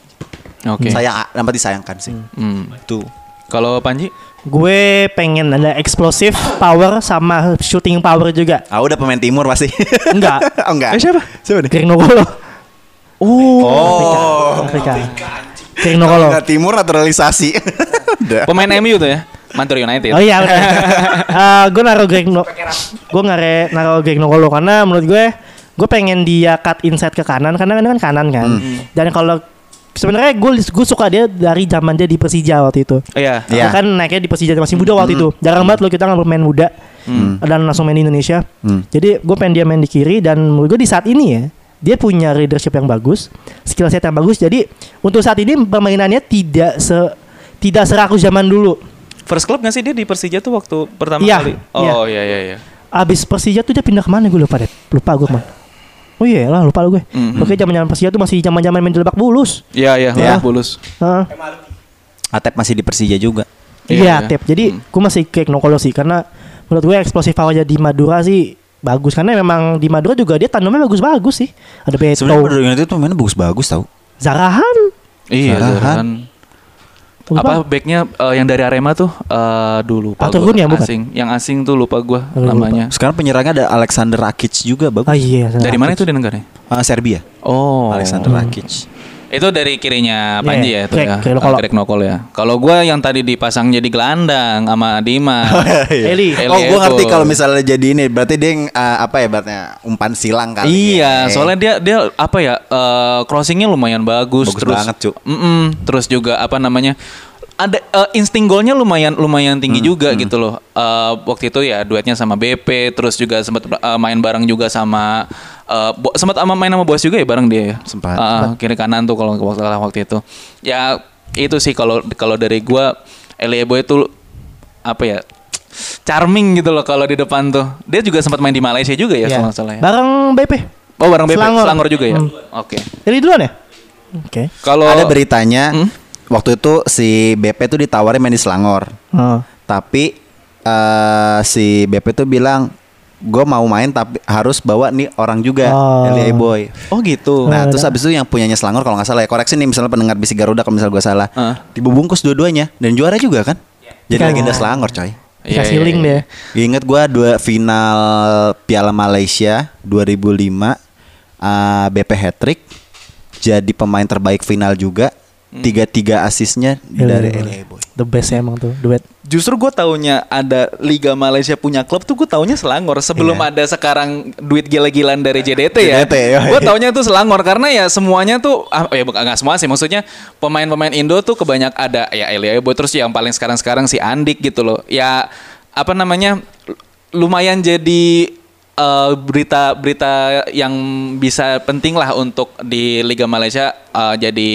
[SPEAKER 1] Oke.
[SPEAKER 3] Saya amat disayangkan sih.
[SPEAKER 1] Hmm.
[SPEAKER 3] Tuh.
[SPEAKER 1] Kalau Panji?
[SPEAKER 2] Gue pengen ada explosive power sama shooting power juga.
[SPEAKER 3] Ah udah pemain timur pasti.
[SPEAKER 2] Enggak.
[SPEAKER 3] oh enggak.
[SPEAKER 1] Eh, siapa?
[SPEAKER 3] Siapa nih?
[SPEAKER 2] Kirin Nogolo. Uh,
[SPEAKER 3] Oh.
[SPEAKER 2] Afrika. Kirin
[SPEAKER 3] Kalau
[SPEAKER 2] Nogolo.
[SPEAKER 3] nggak timur naturalisasi. Udah.
[SPEAKER 1] Pemain MU tuh ya? Manchester United.
[SPEAKER 2] Oh iya, benar. Eh, gue naruh Greg no gue ngare naruh Greg Nogolo karena menurut gue gue pengen dia cut inside ke kanan karena kan kan kanan kan.
[SPEAKER 3] Hmm.
[SPEAKER 2] Dan kalau sebenarnya gue gue suka dia dari zaman dia di Persija waktu itu.
[SPEAKER 1] Iya.
[SPEAKER 2] Dia
[SPEAKER 3] Iya.
[SPEAKER 2] kan naiknya di Persija masih muda waktu itu. Jarang banget lo kita nggak pemain muda dan langsung main di Indonesia.
[SPEAKER 3] Hmm.
[SPEAKER 2] Jadi gue pengen dia main di kiri dan menurut gue di saat ini ya dia punya leadership yang bagus, skill set yang bagus. Jadi untuk saat ini permainannya tidak se tidak serakus zaman dulu.
[SPEAKER 1] First club gak sih dia di Persija tuh waktu pertama
[SPEAKER 2] Iya,
[SPEAKER 1] kali?
[SPEAKER 2] iya.
[SPEAKER 1] Oh iya iya iya.
[SPEAKER 2] Abis Persija tuh dia pindah kemana gue lupa deh Lupa gue kemana Oh iya lah lupa gue
[SPEAKER 1] Mhm.
[SPEAKER 2] Oke zaman zaman Persija tuh masih zaman zaman main di Lebak Bulus
[SPEAKER 1] Iya iya,
[SPEAKER 3] Iya.
[SPEAKER 1] Lebak Bulus.
[SPEAKER 2] Heeh.
[SPEAKER 3] Atep masih di Persija juga.
[SPEAKER 1] Iya, iya.
[SPEAKER 2] Iya tip Jadi gue masih kayak Nokolo sih Karena menurut gue eksplosif aja di Madura sih Bagus Karena memang di Madura juga dia tandemnya bagus-bagus sih Ada Beto
[SPEAKER 3] Sebenarnya Madura United tuh mainnya bagus-bagus tau.
[SPEAKER 2] Zarahan
[SPEAKER 1] Iya,
[SPEAKER 2] kan?
[SPEAKER 3] Zarahan.
[SPEAKER 1] Zarahan.
[SPEAKER 2] Bagus
[SPEAKER 1] Apa
[SPEAKER 2] banget.
[SPEAKER 1] backnya eh, yang dari Arema tuh eh dulu lupa gua.
[SPEAKER 2] Arthur Gun ya, bukan?
[SPEAKER 1] asing. Yang asing tuh lupa gua
[SPEAKER 2] Aduh, lupa.
[SPEAKER 1] namanya.
[SPEAKER 3] Sekarang penyerangnya ada Alexander Rakic juga bagus.
[SPEAKER 2] Ah iya
[SPEAKER 1] Dari
[SPEAKER 2] Zarahan.
[SPEAKER 1] mana itu di negaranya?
[SPEAKER 3] Ah, Serbia.
[SPEAKER 1] Oh.
[SPEAKER 3] Alexander Rakic.
[SPEAKER 1] Itu dari kirinya Panji ya
[SPEAKER 2] Iya,
[SPEAKER 1] itu
[SPEAKER 2] Greg-
[SPEAKER 1] ya. Ah,
[SPEAKER 2] Greg Nokolo.
[SPEAKER 1] Greg Nokolo ya. Kalau gua yang tadi dipasang jadi gelandang sama Dima.
[SPEAKER 2] iya, Eli.
[SPEAKER 3] Oh,
[SPEAKER 1] Eli itu.
[SPEAKER 3] gue ngerti kalau misalnya jadi ini berarti dia yang, ah, apa ya berarti umpan silang kali.
[SPEAKER 1] Iya,
[SPEAKER 3] ya.
[SPEAKER 1] soalnya dia dia apa ya eh, crossingnya lumayan bagus,
[SPEAKER 3] Bagus banget, Cuk.
[SPEAKER 1] Mm-mm, terus juga apa namanya ada eh, insting golnya lumayan lumayan tinggi
[SPEAKER 3] Hmm,
[SPEAKER 1] juga gitu loh. Eh, waktu itu ya duetnya sama BP, terus juga sempat eh, main bareng juga sama eh, Bo- sempat sama main sama Bos juga ya bareng dia ya.
[SPEAKER 3] Sempat.
[SPEAKER 1] Eh, kiri kanan tuh kalau waktu waktu itu. Ya itu sih kalau kalau dari gua Eliebo itu apa ya charming gitu loh kalau di depan tuh. Dia juga sempat main di Malaysia juga ya
[SPEAKER 2] Iya.
[SPEAKER 1] kalau nggak salah ya.
[SPEAKER 2] Bareng BP
[SPEAKER 1] Oh barang BP Selangor,
[SPEAKER 2] Selangor.
[SPEAKER 1] juga ya.
[SPEAKER 2] Hmm.
[SPEAKER 1] Oke.
[SPEAKER 2] Jadi duluan ya Oke
[SPEAKER 1] Kalau
[SPEAKER 3] ada beritanya
[SPEAKER 1] Hmm?
[SPEAKER 3] waktu itu si BP tuh ditawarin main di Selangor.
[SPEAKER 2] Oh.
[SPEAKER 3] Tapi eh, si BP tuh bilang gue mau main tapi harus bawa nih orang juga
[SPEAKER 2] Oh.
[SPEAKER 3] LA Boy.
[SPEAKER 1] Oh gitu.
[SPEAKER 3] Nah,
[SPEAKER 2] Nah,
[SPEAKER 3] terus
[SPEAKER 2] nah.
[SPEAKER 3] abis itu yang punyanya Selangor kalau nggak salah ya koreksi nih misalnya pendengar bisi Garuda kalau misalnya gue salah.
[SPEAKER 1] Heeh.
[SPEAKER 3] Dibungkus dua-duanya dan juara juga kan? Jadi
[SPEAKER 2] Kan.
[SPEAKER 3] legenda Selangor coy.
[SPEAKER 1] Iya,
[SPEAKER 2] Dikasih
[SPEAKER 1] iya,
[SPEAKER 2] link
[SPEAKER 1] iya.
[SPEAKER 2] deh
[SPEAKER 3] Ingat gue dua final Piala Malaysia 2005 eh, BP hat-trick jadi pemain terbaik final juga. Tiga-tiga asisnya
[SPEAKER 2] Eli
[SPEAKER 3] dari
[SPEAKER 2] Boy.
[SPEAKER 3] LA Boy.
[SPEAKER 2] Iya, the best sih emang tuh duet.
[SPEAKER 1] Justru gue taunya ada Liga Malaysia punya klub tuh gue taunya Selangor sebelum
[SPEAKER 3] Iya.
[SPEAKER 1] ada sekarang duit gila-gilaan dari JDT ya.
[SPEAKER 3] JDT, yoi.
[SPEAKER 1] Gue taunya tuh Selangor karena ya semuanya tuh ah, ya bukan nggak semua sih maksudnya pemain-pemain Indo tuh kebanyak ada ya Elia Boy terus yang paling sekarang-sekarang si Andik gitu loh. Ya apa namanya lumayan jadi eh, berita-berita yang bisa penting lah untuk di Liga Malaysia eh, jadi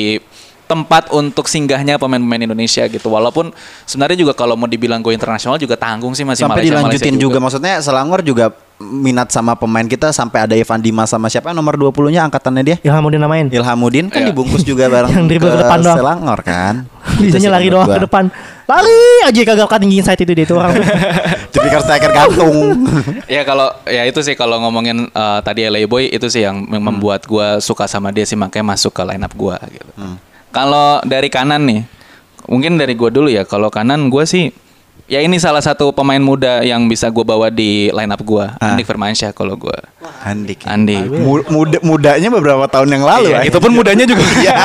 [SPEAKER 1] tempat untuk singgahnya pemain-pemain Indonesia gitu. Walaupun sebenarnya juga kalau mau dibilang go internasional juga tanggung sih masih
[SPEAKER 3] sampai
[SPEAKER 1] Malaysia,
[SPEAKER 3] dilanjutin
[SPEAKER 1] Malaysia
[SPEAKER 3] juga. maksudnya Selangor juga minat sama pemain kita sampai ada Ivan Dimas sama siapa nomor 20-nya angkatannya dia
[SPEAKER 2] Ilham udah namain.
[SPEAKER 3] Ilhamudin kan
[SPEAKER 1] Iya.
[SPEAKER 3] dibungkus juga bareng
[SPEAKER 2] Yang dribble ke depan doang.
[SPEAKER 3] Selangor kan Itu sih
[SPEAKER 2] Bisanya lari
[SPEAKER 3] menurut
[SPEAKER 2] doang ke
[SPEAKER 3] gua.
[SPEAKER 2] depan. Lari aja kagak ketinggiin saat itu dia itu orang.
[SPEAKER 3] Tipikal striker gantung
[SPEAKER 1] Ya kalau ya itu sih kalau ngomongin eh, tadi LA Boy itu sih yang
[SPEAKER 3] Hmm.
[SPEAKER 1] mem- membuat gua suka sama dia sih makanya masuk ke line up gua gitu.
[SPEAKER 3] Hmm.
[SPEAKER 1] Kalau dari kanan nih mungkin dari gua dulu ya. Kalau kanan gua sih ya ini salah satu pemain muda yang bisa gua bawa di line up gua.
[SPEAKER 3] Ah.
[SPEAKER 1] Andik Firmansyah kalau gua.
[SPEAKER 3] Andik
[SPEAKER 1] Andik.
[SPEAKER 3] Mu- muda, mudanya beberapa tahun yang lalu
[SPEAKER 1] Iya,
[SPEAKER 3] akhirnya.
[SPEAKER 1] itu pun mudanya juga.
[SPEAKER 3] Iya.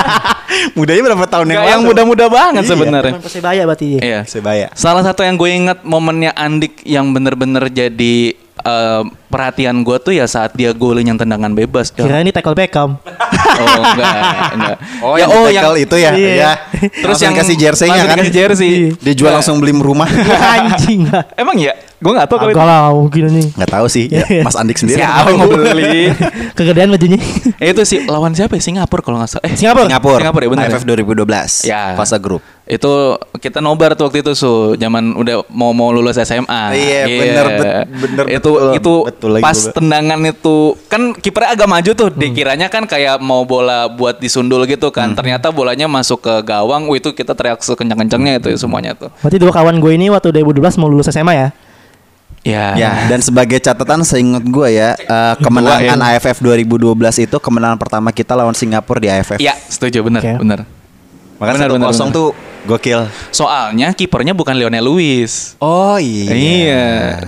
[SPEAKER 3] mudanya berapa tahun yang
[SPEAKER 1] Nggak
[SPEAKER 3] lalu Ya,
[SPEAKER 1] yang muda-muda banget
[SPEAKER 3] Iya.
[SPEAKER 1] sebenarnya.
[SPEAKER 2] Cuman Persebaya berarti dia.
[SPEAKER 1] Iya.
[SPEAKER 3] Persebaya.
[SPEAKER 1] Salah satu yang gue inget momennya Andik yang bener-bener jadi eh, perhatian gue tuh ya saat dia golin yang tendangan bebas. Ya,
[SPEAKER 2] Kira ini tackle Beckham.
[SPEAKER 1] oh enggak, enggak.
[SPEAKER 3] Oh, yang oh, itu ya.
[SPEAKER 2] Iya.
[SPEAKER 3] Iya.
[SPEAKER 1] Terus yang
[SPEAKER 3] kasih jersey-nya
[SPEAKER 1] langsung
[SPEAKER 3] kan.
[SPEAKER 1] dikasih jersey.
[SPEAKER 3] Dijual
[SPEAKER 1] Nah,
[SPEAKER 3] langsung beli rumah.
[SPEAKER 2] Anjing lah.
[SPEAKER 1] Emang ya? Gue nggak tahu kalau itu.
[SPEAKER 2] Agak lah mungkin nih.
[SPEAKER 3] Enggak tahu sih. Ya,
[SPEAKER 2] Iya.
[SPEAKER 3] Mas Andik sendiri.
[SPEAKER 1] Siapa yang mau beli?
[SPEAKER 2] Kegedean bajunya.
[SPEAKER 1] Eh, itu sih lawan siapa ya? Singapura kalau nggak salah. Eh,
[SPEAKER 2] Singapura.
[SPEAKER 3] Singapura.
[SPEAKER 1] Singapura ya, benar ya?
[SPEAKER 3] AFF 2012.
[SPEAKER 1] Ya.
[SPEAKER 3] Fase grup.
[SPEAKER 1] itu kita nobar tuh waktu itu su zaman udah mau mau lulus SMA
[SPEAKER 3] Iya, bener, bet- bener,
[SPEAKER 1] itu
[SPEAKER 3] betul.
[SPEAKER 1] itu
[SPEAKER 3] Betul lagi Hmm.
[SPEAKER 1] pas
[SPEAKER 3] gua.
[SPEAKER 1] tendangan itu kan kipernya agak maju tuh dikiranya kan kayak mau bola buat disundul gitu kan
[SPEAKER 3] Hmm.
[SPEAKER 1] ternyata bolanya masuk ke gawang Wih, itu kita teriak sekencang-kencangnya itu ya semuanya tuh
[SPEAKER 2] Berarti dua kawan gue ini waktu 2012 mau lulus SMA ya.
[SPEAKER 1] ya
[SPEAKER 3] Ya, dan sebagai catatan seingat gua ya, eh, kemenangan AFF 2012 itu kemenangan pertama kita lawan Singapura di AFF.
[SPEAKER 1] ya setuju bener
[SPEAKER 2] Oke.
[SPEAKER 1] bener
[SPEAKER 3] Makanya
[SPEAKER 1] Benar, benar,
[SPEAKER 3] 1-0
[SPEAKER 1] benar.
[SPEAKER 3] tuh gokil.
[SPEAKER 1] soalnya kipernya bukan Lionel Lewis
[SPEAKER 3] Oh iya.
[SPEAKER 1] Iya.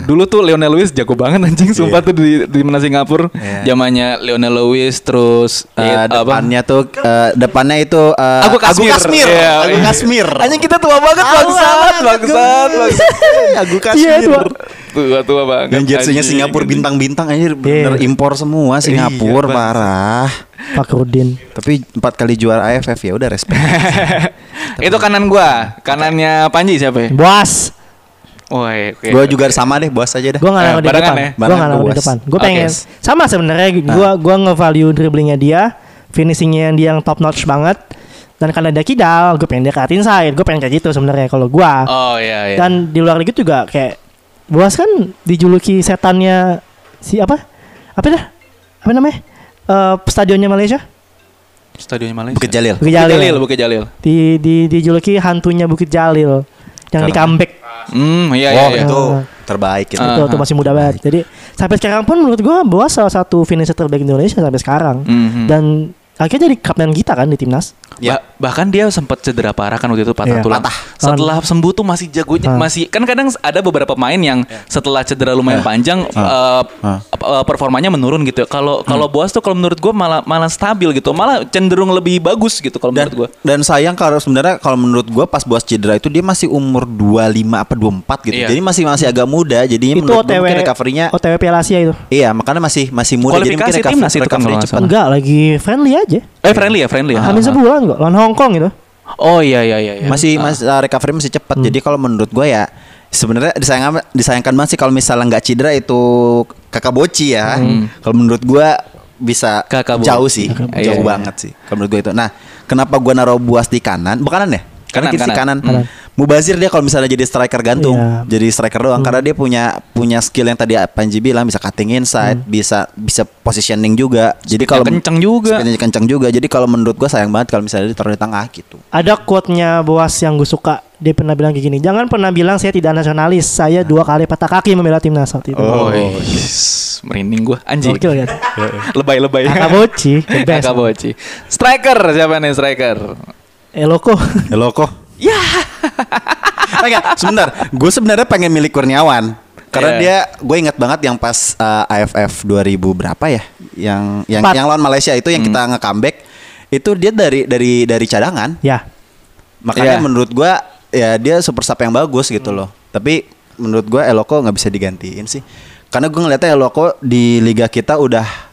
[SPEAKER 1] Dulu tuh Lionel Lewis jago banget anjing sumpah tuh di di mana Singapura.
[SPEAKER 3] Iya.
[SPEAKER 1] Zamannya Lionel Lewis terus
[SPEAKER 3] Eh,
[SPEAKER 1] eh, apa?
[SPEAKER 3] depannya tuh eh, depannya itu eh,
[SPEAKER 1] Aku Kasmir.
[SPEAKER 3] Kasmir.
[SPEAKER 1] Iya,
[SPEAKER 3] Aku
[SPEAKER 1] iya.
[SPEAKER 3] Kasmir.
[SPEAKER 1] Anjing kita tua banget bangsat, bangsat, bangsat.
[SPEAKER 3] Aku
[SPEAKER 2] Iya,
[SPEAKER 3] Kasmir.
[SPEAKER 2] tua.
[SPEAKER 1] Tua tua banget.
[SPEAKER 3] Dan jersinya
[SPEAKER 1] anjing.
[SPEAKER 3] Singapura gitu. bintang-bintang anjir bener
[SPEAKER 2] Iya.
[SPEAKER 3] impor semua Singapura
[SPEAKER 1] Bang.
[SPEAKER 3] parah.
[SPEAKER 2] Pak Rudin.
[SPEAKER 3] Tapi empat kali juara AFF ya udah respect.
[SPEAKER 1] Itu kanan gua, kanannya Panji siapa ya?
[SPEAKER 2] Bos.
[SPEAKER 1] Woi, oke.
[SPEAKER 3] Gua juga sama deh, bos aja dah.
[SPEAKER 2] Gue nggak
[SPEAKER 1] Eh,
[SPEAKER 2] nemu di
[SPEAKER 1] barengan
[SPEAKER 2] depan.
[SPEAKER 1] ya?
[SPEAKER 2] Gue
[SPEAKER 3] Barengan
[SPEAKER 2] nggak nemu di
[SPEAKER 3] luas.
[SPEAKER 2] depan. Gue
[SPEAKER 1] Oke. Nah.
[SPEAKER 2] pengen sama sebenarnya. Gue gua nge-value dribblingnya dia, finishingnya yang dia yang top notch banget. Dan karena dia kidal, gue pengen dia ke inside. Gue pengen kayak gitu sebenarnya kalau gue.
[SPEAKER 1] Oh iya iya.
[SPEAKER 2] Dan di luar liga juga kayak Boas kan dijuluki setannya si apa? Apa dah? Apa namanya? Eh, stadionnya Malaysia?
[SPEAKER 1] stadionnya Malaysia.
[SPEAKER 3] Bukit Jalil.
[SPEAKER 2] Bukit
[SPEAKER 1] Bukit Jalil,
[SPEAKER 2] Jalil.
[SPEAKER 1] Bukit Jalil.
[SPEAKER 2] Di, di dijuluki hantunya Bukit Jalil yang di
[SPEAKER 3] Karena-
[SPEAKER 2] comeback
[SPEAKER 1] Hmm, iya iya.
[SPEAKER 3] Oh,
[SPEAKER 1] iya.
[SPEAKER 2] gitu.
[SPEAKER 3] itu terbaik itu.
[SPEAKER 1] Ah.
[SPEAKER 2] itu waktu masih muda banget. Jadi sampai sekarang pun menurut gua Boas salah satu finisher terbaik Indonesia sampai sekarang.
[SPEAKER 1] Mhm.
[SPEAKER 2] Dan akhirnya jadi kapten kita kan di timnas.
[SPEAKER 1] Ya.
[SPEAKER 3] Ya.
[SPEAKER 1] bahkan dia sempat cedera parah kan waktu itu patah
[SPEAKER 2] Iya.
[SPEAKER 1] tulang.
[SPEAKER 3] Patah.
[SPEAKER 1] Setelah sembuh tuh masih jagonya
[SPEAKER 2] Ah.
[SPEAKER 1] masih kan kadang ada beberapa pemain yang setelah cedera lumayan panjang eh,
[SPEAKER 3] Ah. Ah.
[SPEAKER 1] p- eh, performanya menurun gitu. Kalau kalau Boas tuh kalau menurut gua malah malah stabil gitu. Malah cenderung lebih bagus gitu kalau
[SPEAKER 3] Dan,
[SPEAKER 1] menurut gua.
[SPEAKER 3] dan sayang kalau sebenarnya kalau menurut gua pas Bos cedera itu dia masih umur 25 apa 24 gitu.
[SPEAKER 1] Iya.
[SPEAKER 3] Jadi masih masih agak muda.
[SPEAKER 2] itu
[SPEAKER 3] Jadinya Iya, menurut gua
[SPEAKER 2] OTW
[SPEAKER 3] mungkin recovery-nya
[SPEAKER 2] OTW Piala Asia itu.
[SPEAKER 3] iya, makanya masih masih muda jadi mungkin
[SPEAKER 1] Kualifikasi
[SPEAKER 3] recovery,
[SPEAKER 1] timnas itu kan
[SPEAKER 3] recovery-nya
[SPEAKER 1] kalau nggak
[SPEAKER 3] cepat.
[SPEAKER 1] salah.
[SPEAKER 2] Enggak, lagi friendly aja.
[SPEAKER 1] Eh friendly ya, friendly ya.
[SPEAKER 3] Iya.
[SPEAKER 1] Ah,
[SPEAKER 2] Hamin
[SPEAKER 1] ah.
[SPEAKER 2] sebulan kok lawan Hong Kong itu.
[SPEAKER 1] Oh iya iya iya. iya. Ah.
[SPEAKER 3] Masih
[SPEAKER 1] Hmm.
[SPEAKER 3] mas uh, recovery masih cepat. Jadi kalau menurut gua ya sebenarnya disayangkan disayangkan banget sih kalau misalnya nggak cedera itu kakak boci ya. Kalau menurut gua bisa
[SPEAKER 1] Hmm. Kakak Bo-
[SPEAKER 3] jauh sih,
[SPEAKER 1] Kakak Boci. Iya, iya.
[SPEAKER 3] jauh banget sih. Kalau menurut gua itu. Nah, kenapa gua naruh buas di kanan? Bukan kanan ya? Karena
[SPEAKER 1] Kanan,
[SPEAKER 3] kita sih
[SPEAKER 1] kanan.
[SPEAKER 3] kanan. Mubazir dia kalau misalnya jadi striker gantung,
[SPEAKER 2] Iya.
[SPEAKER 3] jadi striker
[SPEAKER 1] Hmm.
[SPEAKER 3] doang karena dia punya punya skill yang tadi Panji bilang bisa cutting inside, bisa bisa positioning juga. Jadi kalau
[SPEAKER 1] Hmm. kenceng juga.
[SPEAKER 3] Speednya kenceng juga. Jadi kalau menurut gua sayang banget kalau misalnya ditaruh di tengah gitu.
[SPEAKER 2] Ada quote-nya Boas yang gue suka. Dia pernah bilang kayak gini, "Jangan pernah bilang saya tidak nasionalis. Saya
[SPEAKER 3] Nah.
[SPEAKER 2] dua kali patah kaki membela timnas waktu itu."
[SPEAKER 1] Oh, yes. merinding gua anjing.
[SPEAKER 2] Gokil kan?
[SPEAKER 3] Iya.
[SPEAKER 1] Lebay-lebay.
[SPEAKER 2] Kakak Boci, the best.
[SPEAKER 1] Kakak Boci. Striker siapa nih striker?
[SPEAKER 2] Eloko.
[SPEAKER 3] Hello kok.
[SPEAKER 1] Ya.
[SPEAKER 3] Ah, Enggak, sebentar. Gue sebenarnya pengen milik Kurniawan. Karena
[SPEAKER 1] Iya.
[SPEAKER 3] dia, gue ingat banget yang pas uh, AFF 2000 berapa ya? Yang yang
[SPEAKER 2] Empat.
[SPEAKER 3] yang lawan Malaysia itu yang
[SPEAKER 1] Hmm.
[SPEAKER 3] kita nge-comeback itu dia dari dari dari cadangan.
[SPEAKER 2] ya.
[SPEAKER 1] Iya.
[SPEAKER 3] Makanya
[SPEAKER 1] Hmm.
[SPEAKER 3] menurut gue ya dia super sub yang bagus gitu loh. Tapi menurut gua Eloko nggak bisa digantiin sih. Karena gua ngeliatnya Eloko di liga kita udah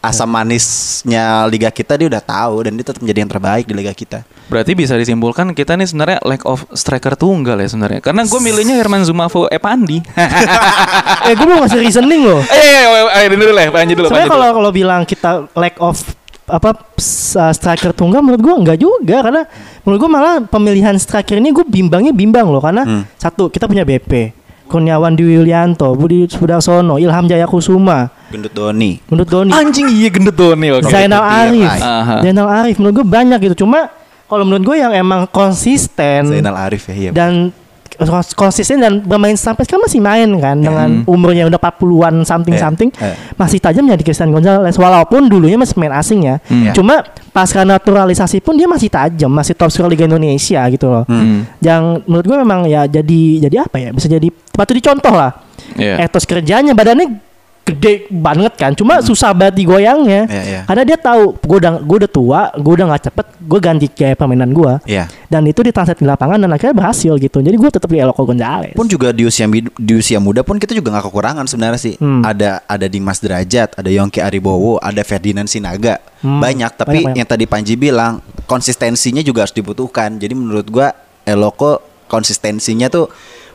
[SPEAKER 3] asam
[SPEAKER 1] Hmm.
[SPEAKER 3] manisnya liga kita dia udah tahu dan dia tetap menjadi yang terbaik di liga kita.
[SPEAKER 1] Berarti bisa disimpulkan kita nih sebenarnya lack of striker tunggal ya sebenarnya. Karena gue milihnya Herman Zumafo Epandi.
[SPEAKER 2] eh gue mau ngasih reasoning loh
[SPEAKER 1] eh, eh, eh, eh, ini dulu lah, lanjut dulu.
[SPEAKER 2] Sebenarnya
[SPEAKER 1] lanjut
[SPEAKER 2] kalau
[SPEAKER 1] dulu.
[SPEAKER 2] kalau bilang kita lack of apa s- uh, striker tunggal menurut gua enggak juga karena menurut gua malah pemilihan striker ini gue bimbangnya bimbang loh karena satu kita punya BP Kurniawan Dwi Yulianto Budi Sudarsono Ilham Jaya Kusuma
[SPEAKER 3] Gendut Doni.
[SPEAKER 2] menurut Doni
[SPEAKER 1] anjing iya gendut tuh nih oke.
[SPEAKER 2] Zainal
[SPEAKER 3] Iya,
[SPEAKER 2] Arif
[SPEAKER 3] Rai.
[SPEAKER 1] Aha.
[SPEAKER 2] Zainal Arif menurut gua banyak gitu cuma kalau menurut gua yang emang konsisten
[SPEAKER 3] Zainal Arif ya. Iya.
[SPEAKER 2] dan kons- konsisten dan bermain sampai sekarang masih main kan dengan
[SPEAKER 1] Hmm.
[SPEAKER 2] umurnya udah 40-an something
[SPEAKER 3] Eh,
[SPEAKER 2] something
[SPEAKER 3] eh.
[SPEAKER 2] masih tajamnya di Cristian Gonzalez walaupun dulunya masih main asing ya.
[SPEAKER 1] Hmm.
[SPEAKER 2] Cuma pasca naturalisasi pun dia masih tajam, masih top skor Liga Indonesia gitu loh.
[SPEAKER 1] Hmm.
[SPEAKER 2] Yang menurut gue memang ya jadi jadi apa ya? Bisa jadi patut dicontoh lah.
[SPEAKER 1] Iya.
[SPEAKER 2] Etos kerjanya badannya gede banget kan.
[SPEAKER 1] Hmm.
[SPEAKER 2] Cuma susah banget digoyangnya.
[SPEAKER 3] Iya, iya.
[SPEAKER 2] Karena dia tahu gue udah gue udah tua, gue udah nggak cepet, gue ganti gaya permainan gue
[SPEAKER 3] Iya.
[SPEAKER 2] dan itu ditranslate di lapangan dan akhirnya berhasil gitu jadi gue tetap di Eloko Gonzalez
[SPEAKER 3] pun juga di usia mid- di usia muda pun kita juga nggak kekurangan sebenarnya sih
[SPEAKER 2] Hmm.
[SPEAKER 3] ada ada Dimas Derajat ada Yongki Aribowo ada Ferdinand Sinaga
[SPEAKER 2] Hmm.
[SPEAKER 3] banyak tapi
[SPEAKER 2] Banyak, banyak.
[SPEAKER 3] yang tadi Panji bilang konsistensinya juga harus dibutuhkan jadi menurut gua Eloko konsistensinya tuh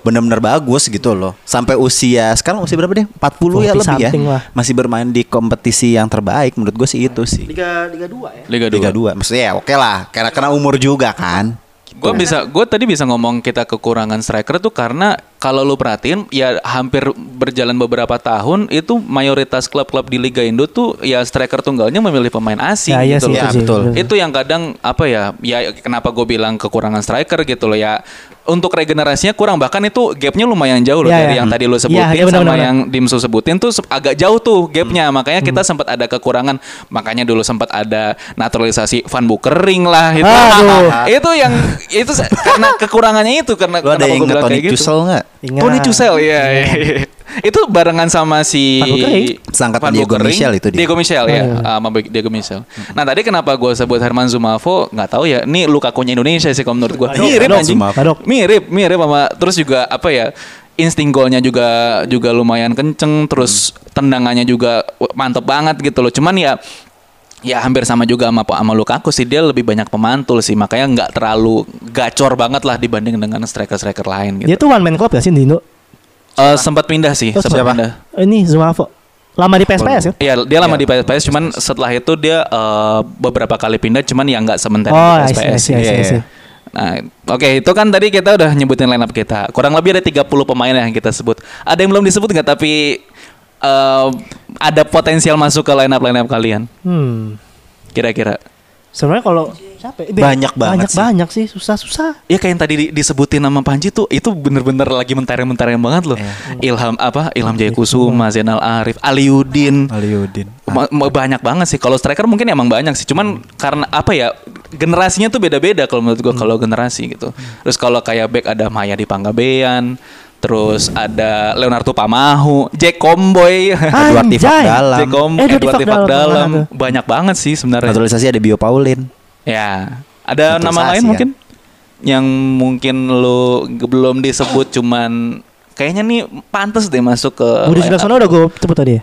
[SPEAKER 3] benar-benar bagus gitu loh sampai usia sekarang usia berapa deh 40
[SPEAKER 2] 40
[SPEAKER 3] ya lebih ya
[SPEAKER 2] something lah.
[SPEAKER 3] masih bermain di kompetisi yang terbaik menurut gue sih itu sih
[SPEAKER 2] Liga Liga 2 ya
[SPEAKER 1] Liga 2.
[SPEAKER 3] Liga 2 maksudnya ya oke lah karena karena umur juga kan
[SPEAKER 1] Gue bisa, gue tadi bisa ngomong kita kekurangan striker tuh karena kalau lu perhatiin ya hampir berjalan beberapa tahun itu mayoritas klub-klub di Liga Indo tuh ya striker tunggalnya memilih pemain asing
[SPEAKER 2] ya, iya
[SPEAKER 1] gitu
[SPEAKER 2] sih,
[SPEAKER 1] loh.
[SPEAKER 3] Ya,
[SPEAKER 2] itu sih,
[SPEAKER 3] betul.
[SPEAKER 2] itu sih.
[SPEAKER 1] Itu yang kadang apa ya? Ya kenapa gue bilang kekurangan striker gitu loh ya. Untuk regenerasinya kurang bahkan itu gapnya lumayan jauh loh
[SPEAKER 2] Ya,
[SPEAKER 1] dari
[SPEAKER 2] ya.
[SPEAKER 1] yang tadi lo
[SPEAKER 2] Ya,
[SPEAKER 1] sebutin
[SPEAKER 2] ya, benar,
[SPEAKER 1] sama
[SPEAKER 2] benar,
[SPEAKER 1] yang Dimsu sebutin tuh se- agak jauh tuh gapnya
[SPEAKER 3] Hmm.
[SPEAKER 1] makanya kita sempat ada kekurangan makanya dulu sempat ada naturalisasi Van Bukering lah itu
[SPEAKER 2] Aduh.
[SPEAKER 1] itu yang itu se- karena kekurangannya itu karena
[SPEAKER 3] lu ada
[SPEAKER 1] kenapa gua
[SPEAKER 3] yang inget
[SPEAKER 1] bilang
[SPEAKER 3] Tony
[SPEAKER 1] kayak gitu.
[SPEAKER 3] Cusel nggak
[SPEAKER 2] Ingat.
[SPEAKER 1] Tony Cusel iya iya, iya. itu barengan sama si
[SPEAKER 2] Van Bukering.
[SPEAKER 3] Seangkatan
[SPEAKER 1] Van
[SPEAKER 3] Diego
[SPEAKER 1] Bukering,
[SPEAKER 3] Michel itu dia. Hmm.
[SPEAKER 1] Diego Michel ya,
[SPEAKER 2] Oh, iya.
[SPEAKER 1] Ah, sama Diego Michel. Nah tadi kenapa gue sebut Herman Zumafo nggak tahu ya. Ini Lukaku-nya Indonesia sih kalau menurut gue.
[SPEAKER 2] Badok,
[SPEAKER 1] Mirip
[SPEAKER 2] badok,
[SPEAKER 1] anjing.
[SPEAKER 2] badok.
[SPEAKER 1] Mirip, mirip sama terus juga apa ya? Insting golnya juga juga lumayan kenceng, terus
[SPEAKER 3] Hmm.
[SPEAKER 1] tendangannya juga wah, mantep banget gitu loh. Cuman ya Ya hampir sama juga sama sama Lukaku sih dia lebih banyak pemantul sih makanya nggak terlalu gacor banget lah dibanding dengan striker-striker lain gitu.
[SPEAKER 2] dia tuh one man club ya sih Dino
[SPEAKER 1] Eh, sempat pindah sih,
[SPEAKER 2] Oh,
[SPEAKER 1] sempat
[SPEAKER 3] siapa?
[SPEAKER 1] pindah.
[SPEAKER 2] ini Zumafo lama di PSPS kan
[SPEAKER 1] Iya, dia lama di PSPS, cuman setelah itu dia eh, beberapa kali pindah, cuman ya nggak sementara
[SPEAKER 2] oh
[SPEAKER 1] di
[SPEAKER 2] iya iya
[SPEAKER 1] PSPS.
[SPEAKER 2] iya
[SPEAKER 3] Iya,
[SPEAKER 2] iya
[SPEAKER 3] iya.
[SPEAKER 1] Nah, oke itu kan tadi kita udah nyebutin lineup kita. Kurang lebih ada 30 pemain yang kita sebut. Ada yang belum disebut nggak? Tapi eh, ada potensial masuk ke lineup lineup kalian,
[SPEAKER 2] hmm
[SPEAKER 1] kira-kira.
[SPEAKER 2] sebenarnya kalau siapa ya? Eh,
[SPEAKER 3] Banyak
[SPEAKER 2] banyak
[SPEAKER 3] banget sih.
[SPEAKER 2] banyak sih susah susah
[SPEAKER 1] Ya kayak yang tadi di- disebutin nama Panji tuh itu bener-bener lagi mentereng-mentereng banget loh. Ilham apa? Ilham Jayakusuma, Zainal Arif, Aliudin.
[SPEAKER 3] Aliudin
[SPEAKER 1] Ma- ma- banyak banget sih kalau striker mungkin emang banyak sih cuman karena apa ya generasinya tuh beda-beda kalau menurut gua kalau generasi gitu terus kalau kayak back ada Maya di Panggabean terus ada Leonardo Pamahu Jack Comboy
[SPEAKER 3] Edward
[SPEAKER 2] Anjay.
[SPEAKER 3] Tifak Dalam.
[SPEAKER 1] Jack Comboy
[SPEAKER 2] Edward
[SPEAKER 1] Edward
[SPEAKER 2] Tifak
[SPEAKER 1] Tifak
[SPEAKER 2] Dalam,
[SPEAKER 1] Dalam
[SPEAKER 2] mana tuh?
[SPEAKER 1] banyak banget sih sebenarnya
[SPEAKER 3] Naturalisasi ada Bio Paulin.
[SPEAKER 1] ya ada
[SPEAKER 3] Naturalisasi
[SPEAKER 1] nama lain
[SPEAKER 3] kan?
[SPEAKER 1] mungkin yang mungkin lo belum disebut cuman kayaknya nih pantas deh masuk ke
[SPEAKER 3] Eh,
[SPEAKER 2] Budi Sudarsono udah gue sebut tadi ya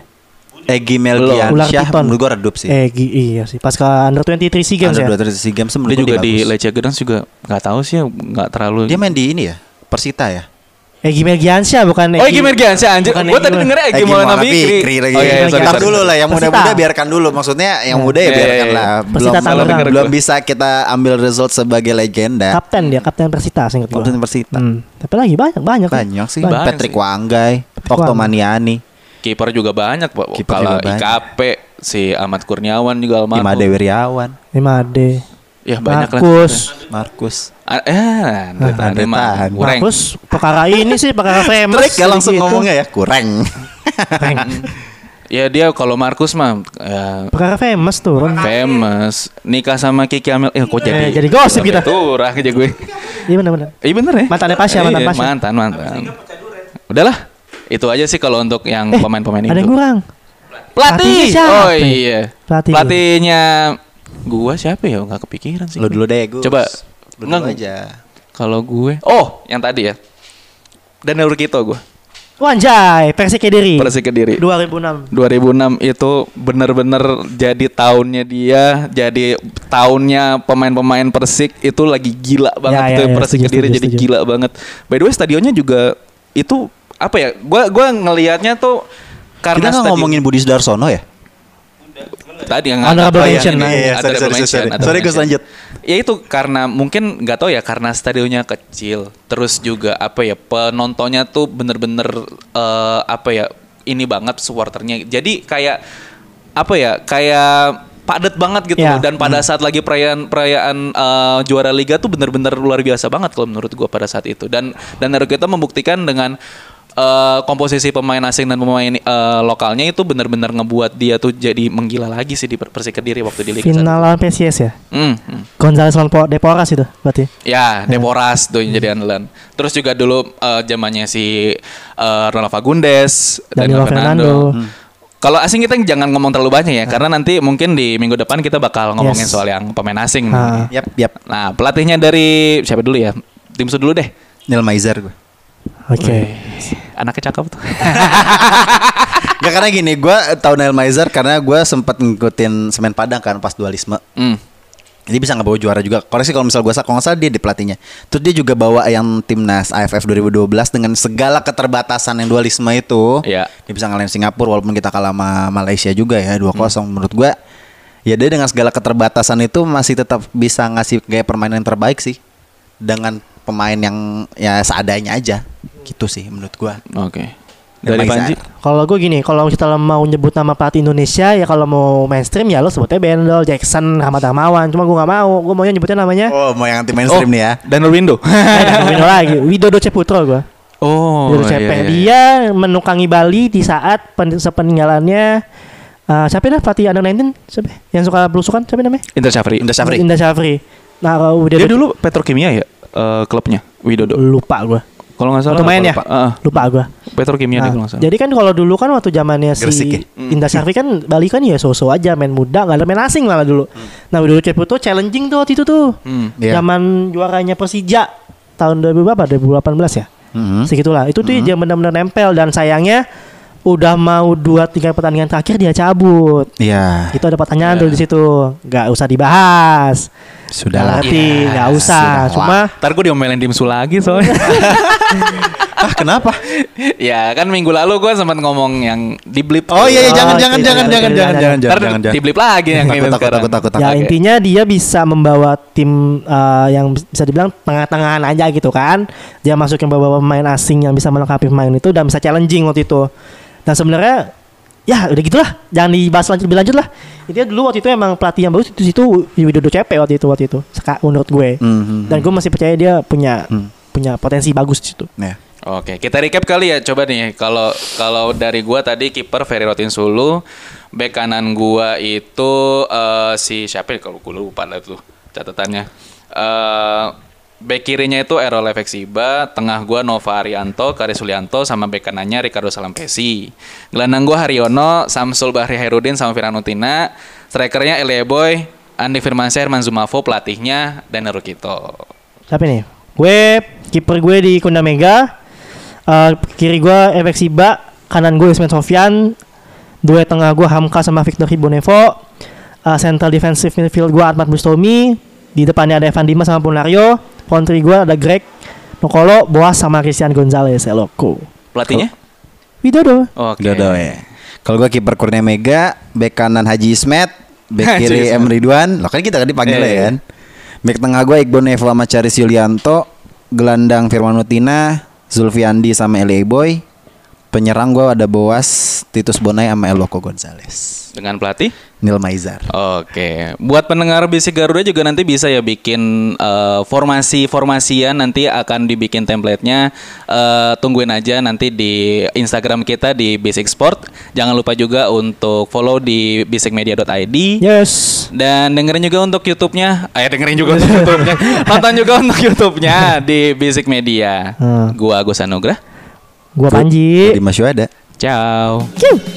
[SPEAKER 3] Egi
[SPEAKER 2] Ular
[SPEAKER 3] Melgiansyah
[SPEAKER 2] Piton.
[SPEAKER 3] menurut gue redup sih.
[SPEAKER 2] eh gi- iya sih pasca under 23 SEA games ya
[SPEAKER 3] Under 23 games menurut
[SPEAKER 1] dia
[SPEAKER 3] gua
[SPEAKER 1] juga di
[SPEAKER 3] bagus.
[SPEAKER 1] Lecce Gedans juga nggak tahu sih ya, nggak terlalu
[SPEAKER 3] Dia main di ini ya, Persita ya.
[SPEAKER 2] Egi Melgiansyah Eh, bukan
[SPEAKER 1] Oh Egy Mergiansyah anjir.
[SPEAKER 2] bukan
[SPEAKER 1] Gue
[SPEAKER 2] Egy
[SPEAKER 1] tadi
[SPEAKER 2] Mel-
[SPEAKER 1] dengernya Egy
[SPEAKER 3] Egy
[SPEAKER 1] Eh, Maulana
[SPEAKER 3] Maulana
[SPEAKER 1] Fikri.
[SPEAKER 3] Fikri lagi.
[SPEAKER 1] Oh iya, iya,
[SPEAKER 2] Maulana
[SPEAKER 1] sorry,
[SPEAKER 3] Ntar
[SPEAKER 1] sorry.
[SPEAKER 3] dulu lah, yang
[SPEAKER 2] Persita.
[SPEAKER 3] muda-muda biarkan dulu. Maksudnya yang muda ya
[SPEAKER 1] Iya, iya,
[SPEAKER 3] biarkan
[SPEAKER 1] iya.
[SPEAKER 3] lah. Belum
[SPEAKER 2] Persita
[SPEAKER 3] belum-
[SPEAKER 2] Tangerang.
[SPEAKER 3] belum bisa kita ambil result sebagai legenda.
[SPEAKER 2] kapten dia kapten Persita singkat gue
[SPEAKER 3] Kapten Persita.
[SPEAKER 2] hmm. tapi lagi banyak banyak
[SPEAKER 3] Banyak sih.
[SPEAKER 1] Banyak
[SPEAKER 3] Patrick
[SPEAKER 1] sih.
[SPEAKER 3] Wanggai, Okto
[SPEAKER 2] Wanggai.
[SPEAKER 3] Maniani,
[SPEAKER 1] Kiper juga banyak, Pak.
[SPEAKER 3] Kiper
[SPEAKER 1] Kalau
[SPEAKER 3] juga banyak.
[SPEAKER 1] IKP si Ahmad Kurniawan juga almarhum.
[SPEAKER 3] Imade Wiryawan,
[SPEAKER 2] Imade
[SPEAKER 1] Ya banyak lah.
[SPEAKER 2] Markus
[SPEAKER 3] Markus.
[SPEAKER 1] Ah, Eh, Andre
[SPEAKER 3] Ah,
[SPEAKER 1] Tahan,
[SPEAKER 3] Andre
[SPEAKER 1] emang.
[SPEAKER 3] Tahan.
[SPEAKER 1] Kurang.
[SPEAKER 2] Markus perkara ini sih perkara famous
[SPEAKER 3] Trik ya langsung
[SPEAKER 2] gitu.
[SPEAKER 3] ngomongnya ya, kurang.
[SPEAKER 2] Prank.
[SPEAKER 1] Ya dia kalau Markus mah ya,
[SPEAKER 2] Perkara famous tuh kan.
[SPEAKER 1] famous nikah sama Kiki Amel. Eh, kok jadi
[SPEAKER 2] jadi gosip kita.
[SPEAKER 1] Turah aja gue.
[SPEAKER 2] Iya benar-benar.
[SPEAKER 1] Iya bener ya.
[SPEAKER 2] Mantannya Pasha, mantan
[SPEAKER 1] Iya,
[SPEAKER 2] Pasha.
[SPEAKER 1] Mantan, mantan. Udahlah. Itu aja sih kalau untuk yang pemain-pemain
[SPEAKER 2] Ada yang
[SPEAKER 1] itu.
[SPEAKER 2] kurang. Pelatihnya
[SPEAKER 1] Pelatih.
[SPEAKER 2] siapa?
[SPEAKER 1] Oh iya.
[SPEAKER 2] Pelatih.
[SPEAKER 1] Pelatihnya gua siapa ya? Nggak kepikiran sih.
[SPEAKER 3] Lu dulu deh, Gus.
[SPEAKER 1] Coba.
[SPEAKER 3] Lu dulu
[SPEAKER 1] Nggak.
[SPEAKER 3] aja.
[SPEAKER 1] Kalau gue, oh yang tadi ya. Daniel Urkito gue.
[SPEAKER 2] Wanjay, Persik Kediri.
[SPEAKER 1] Persik Kediri.
[SPEAKER 2] 2006.
[SPEAKER 1] 2006 itu bener-bener jadi tahunnya dia, jadi tahunnya pemain-pemain Persik itu lagi gila banget
[SPEAKER 2] Ya, ya,
[SPEAKER 1] itu
[SPEAKER 2] ya,
[SPEAKER 1] Persik
[SPEAKER 2] setuju,
[SPEAKER 1] Kediri
[SPEAKER 2] setuju,
[SPEAKER 1] jadi
[SPEAKER 2] setuju.
[SPEAKER 1] gila banget. By the way stadionnya juga itu apa ya? Gua gua ngelihatnya tuh
[SPEAKER 3] Kita
[SPEAKER 1] karena
[SPEAKER 3] nggak
[SPEAKER 1] stadion-
[SPEAKER 3] ngomongin Budi Sudarsono ya?
[SPEAKER 1] tadi yang
[SPEAKER 2] Honorable
[SPEAKER 1] oh, yang
[SPEAKER 2] mention,
[SPEAKER 1] ini,
[SPEAKER 2] nah,
[SPEAKER 3] iya, sorry,
[SPEAKER 1] honorable
[SPEAKER 3] sorry,
[SPEAKER 1] mention,
[SPEAKER 3] sorry.
[SPEAKER 1] honorable
[SPEAKER 3] Sorry, Gus,
[SPEAKER 1] mention.
[SPEAKER 3] lanjut.
[SPEAKER 1] Ya itu karena mungkin nggak tahu ya karena stadionnya kecil, terus juga apa ya penontonnya tuh bener-bener eh, apa ya ini banget supporternya. Jadi kayak apa ya kayak padat banget gitu
[SPEAKER 3] Iya.
[SPEAKER 2] Ya.
[SPEAKER 1] loh. dan pada saat lagi perayaan perayaan eh, juara liga tuh bener-bener luar biasa banget kalau menurut gua pada saat itu dan dan kita membuktikan dengan eh, komposisi pemain asing dan pemain eh, lokalnya itu bener-bener ngebuat dia tuh jadi menggila lagi sih di Per- Persik Kediri waktu di liga satu.
[SPEAKER 2] Final lawan PSIS ya.
[SPEAKER 1] Hmm, hmm.
[SPEAKER 2] Gonzales lawan Po- Deporas itu berarti.
[SPEAKER 1] Ya, Deporas tuh yang
[SPEAKER 2] Hmm.
[SPEAKER 1] jadi andalan. Terus juga dulu eh, zamannya si eh, Ronald Fagundes,
[SPEAKER 2] Danilo Fernando. Ah.
[SPEAKER 1] Kalau asing kita jangan ngomong terlalu banyak ya, karena nanti mungkin di minggu depan kita bakal ngomongin
[SPEAKER 2] Yes.
[SPEAKER 1] soal yang pemain asing.
[SPEAKER 2] Ah.
[SPEAKER 3] Yap, yap.
[SPEAKER 1] Nah, pelatihnya dari siapa dulu ya? Timsu dulu deh.
[SPEAKER 3] Nil Maizar gue.
[SPEAKER 2] Oke.
[SPEAKER 1] Anaknya cakep tuh.
[SPEAKER 3] Gak karena gini, gue tahu Nil Maizar karena gue sempat ngikutin Semen Padang kan pas dualisme.
[SPEAKER 1] Hmm.
[SPEAKER 3] Jadi bisa nggak bawa juara juga. Koreksi kalau misal gue salah, kalau nggak salah dia di pelatihnya. Terus dia juga bawa yang timnas AFF 2012 dengan segala keterbatasan yang dualisme itu.
[SPEAKER 1] Iya.
[SPEAKER 3] Dia bisa ngalahin Singapura walaupun kita kalah sama Malaysia juga ya 2-0
[SPEAKER 1] Hmm.
[SPEAKER 3] menurut gue. Ya dia dengan segala keterbatasan itu masih tetap bisa ngasih gaya permainan yang terbaik sih. Dengan pemain yang ya seadanya aja. Gitu sih menurut gue.
[SPEAKER 1] Oke.
[SPEAKER 3] Nil
[SPEAKER 1] Dari
[SPEAKER 3] Maizar.
[SPEAKER 1] Panji.
[SPEAKER 2] Kalau gue gini, kalau kita mau nyebut nama pelatih Indonesia ya kalau mau mainstream ya lo sebutnya Bendol, Jackson, Rahmat Darmawan. Cuma gue nggak mau, gue maunya nyebutnya namanya
[SPEAKER 3] Oh mau yang anti mainstream nih ya.
[SPEAKER 1] Daniel Window.
[SPEAKER 2] Eh, dah, Widodo lagi, Widodo Ceputro gue.
[SPEAKER 1] oh. iya,
[SPEAKER 2] Widodo Cep.
[SPEAKER 1] iya, iya.
[SPEAKER 2] Dia menukangi Bali di saat pen- sepeninggalannya eh, siapa dah pelatih under 19 siapa yang suka belusukan siapa namanya?
[SPEAKER 1] Indra Syafri.
[SPEAKER 3] Indra Syafri.
[SPEAKER 2] Indah Syafri. Nah, kalau Widodo
[SPEAKER 1] Dia dulu petrokimia ya eh, klubnya Widodo.
[SPEAKER 2] lupa gue.
[SPEAKER 1] Kalau nggak salah.
[SPEAKER 2] Waktu main ya?
[SPEAKER 1] Lupa. Heeh.
[SPEAKER 2] Lupa gue.
[SPEAKER 1] petrokimia
[SPEAKER 2] Nah,
[SPEAKER 1] deh kalau Iya, nggak salah. Hmm.
[SPEAKER 2] jadi kan kalau dulu kan waktu zamannya si
[SPEAKER 3] Gresik ya?
[SPEAKER 2] Indah Syafri kan Bali kan ya so-so aja main muda nggak ada main asing malah dulu. Nah dulu Ceputo challenging tuh waktu itu tuh.
[SPEAKER 1] Hmm.
[SPEAKER 3] Iya.
[SPEAKER 2] Zaman juaranya Persija tahun 2000 berapa? 2018 ya.
[SPEAKER 3] Mhm.
[SPEAKER 2] Segitulah. Itu tuh dia benar-benar nempel dan sayangnya udah mau 2 3 pertandingan terakhir dia cabut.
[SPEAKER 3] Iya.
[SPEAKER 2] Itu ada pertanyaan
[SPEAKER 1] Iya.
[SPEAKER 2] tuh di situ. nggak usah dibahas.
[SPEAKER 1] Iya.
[SPEAKER 3] Sudahlah.
[SPEAKER 2] Berarti nggak usah.
[SPEAKER 3] sudahlah.
[SPEAKER 2] Cuma
[SPEAKER 1] Ntar gue diomelin dimsu lagi soalnya.
[SPEAKER 3] Ah kenapa?
[SPEAKER 1] ya kan minggu lalu gue sempat ngomong yang diblip.
[SPEAKER 3] Oh iya, iya jangan
[SPEAKER 2] Oh,
[SPEAKER 3] jangan
[SPEAKER 2] iya,
[SPEAKER 3] jangan
[SPEAKER 2] iya,
[SPEAKER 3] jangan
[SPEAKER 2] iya,
[SPEAKER 3] jangan
[SPEAKER 2] iya,
[SPEAKER 3] jangan
[SPEAKER 1] Ntar
[SPEAKER 3] jangan jangan jangan.
[SPEAKER 1] diblip lagi yang
[SPEAKER 3] Takut,
[SPEAKER 1] ini
[SPEAKER 3] takut,
[SPEAKER 1] sekarang.
[SPEAKER 3] takut, takut, takut.
[SPEAKER 2] Ya
[SPEAKER 1] Oke.
[SPEAKER 2] intinya dia bisa membawa tim eh, yang bis- bisa dibilang tengah-tengahan aja gitu kan. Dia masukin beberapa pemain asing yang bisa melengkapi pemain itu dan bisa challenging waktu itu. Dan sebenarnya ya udah gitulah, jangan dibahas lanjut lebih lanjut lah. Intinya dulu waktu itu emang pelatih yang bagus itu situ Widodo CP waktu itu waktu itu. Seka, menurut gue.
[SPEAKER 3] Mhm.
[SPEAKER 2] Dan gue masih percaya dia punya punya potensi bagus di situ.
[SPEAKER 3] Ya.
[SPEAKER 1] Oke, kita recap kali ya. Coba nih, kalau kalau dari gua tadi kiper Ferry Rotin Sulu, bek kanan gua itu eh, si siapa ya? kalau gua lupa lah tuh catatannya. Eh bek kirinya itu Erol Efeksiba, tengah gua Nova Arianto, Kari Sulianto sama bek kanannya Ricardo Salampesi. Gelandang gua Haryono, Samsul Bahri Herudin sama Firanutina, strikernya Elie Boy, Andi Firmansyah, Herman Zumafo, pelatihnya dan Rukito.
[SPEAKER 2] Siapa nih? Gue kiper gue di Kunda Mega. Eh, kiri gue Efek Siba, kanan gue Ismail Sofyan, dua tengah gue Hamka sama Victor Hibonevo. Eh, central defensive midfield gue Ahmad Bustomi, di depannya ada Evan Dimas sama Punario, kontri gue ada Greg Nokolo, Boas sama Christian Gonzalez, Eloko.
[SPEAKER 1] Pelatihnya?
[SPEAKER 2] Widodo.
[SPEAKER 1] Oke.
[SPEAKER 3] Dodo ya. Kalau gua kiper Kurnia Mega, bek kanan Haji Ismet, bek
[SPEAKER 1] Haji
[SPEAKER 3] kiri
[SPEAKER 1] Ismet.
[SPEAKER 3] M Ridwan. Lah kan kita tadi panggil
[SPEAKER 1] Iya,
[SPEAKER 3] ya
[SPEAKER 1] iya.
[SPEAKER 3] kan. Bek tengah gua Iqbal Nevo sama Charis Yulianto, gelandang Firman Nutina, Zulfiandi sama Eli Boy. Penyerang gua ada Boas, Titus Bonai sama Eloko Gonzales.
[SPEAKER 1] Dengan pelatih?
[SPEAKER 3] Nil Maizar.
[SPEAKER 1] Oke, buat pendengar bisik Garuda juga nanti bisa ya bikin eh, formasi-formasian nanti akan dibikin template-nya. Eh, tungguin aja nanti di Instagram kita di Basic Sport. Jangan lupa juga untuk follow di basicmedia.id.
[SPEAKER 2] Yes.
[SPEAKER 1] Dan dengerin juga untuk YouTube-nya. Eh dengerin juga untuk YouTube-nya. Nonton juga untuk YouTube-nya di Basic Media.
[SPEAKER 2] Hmm.
[SPEAKER 1] Gua Agus Anugrah.
[SPEAKER 2] Gue Panji.
[SPEAKER 3] Di Masyu ada.
[SPEAKER 1] Ciao.
[SPEAKER 2] Cium.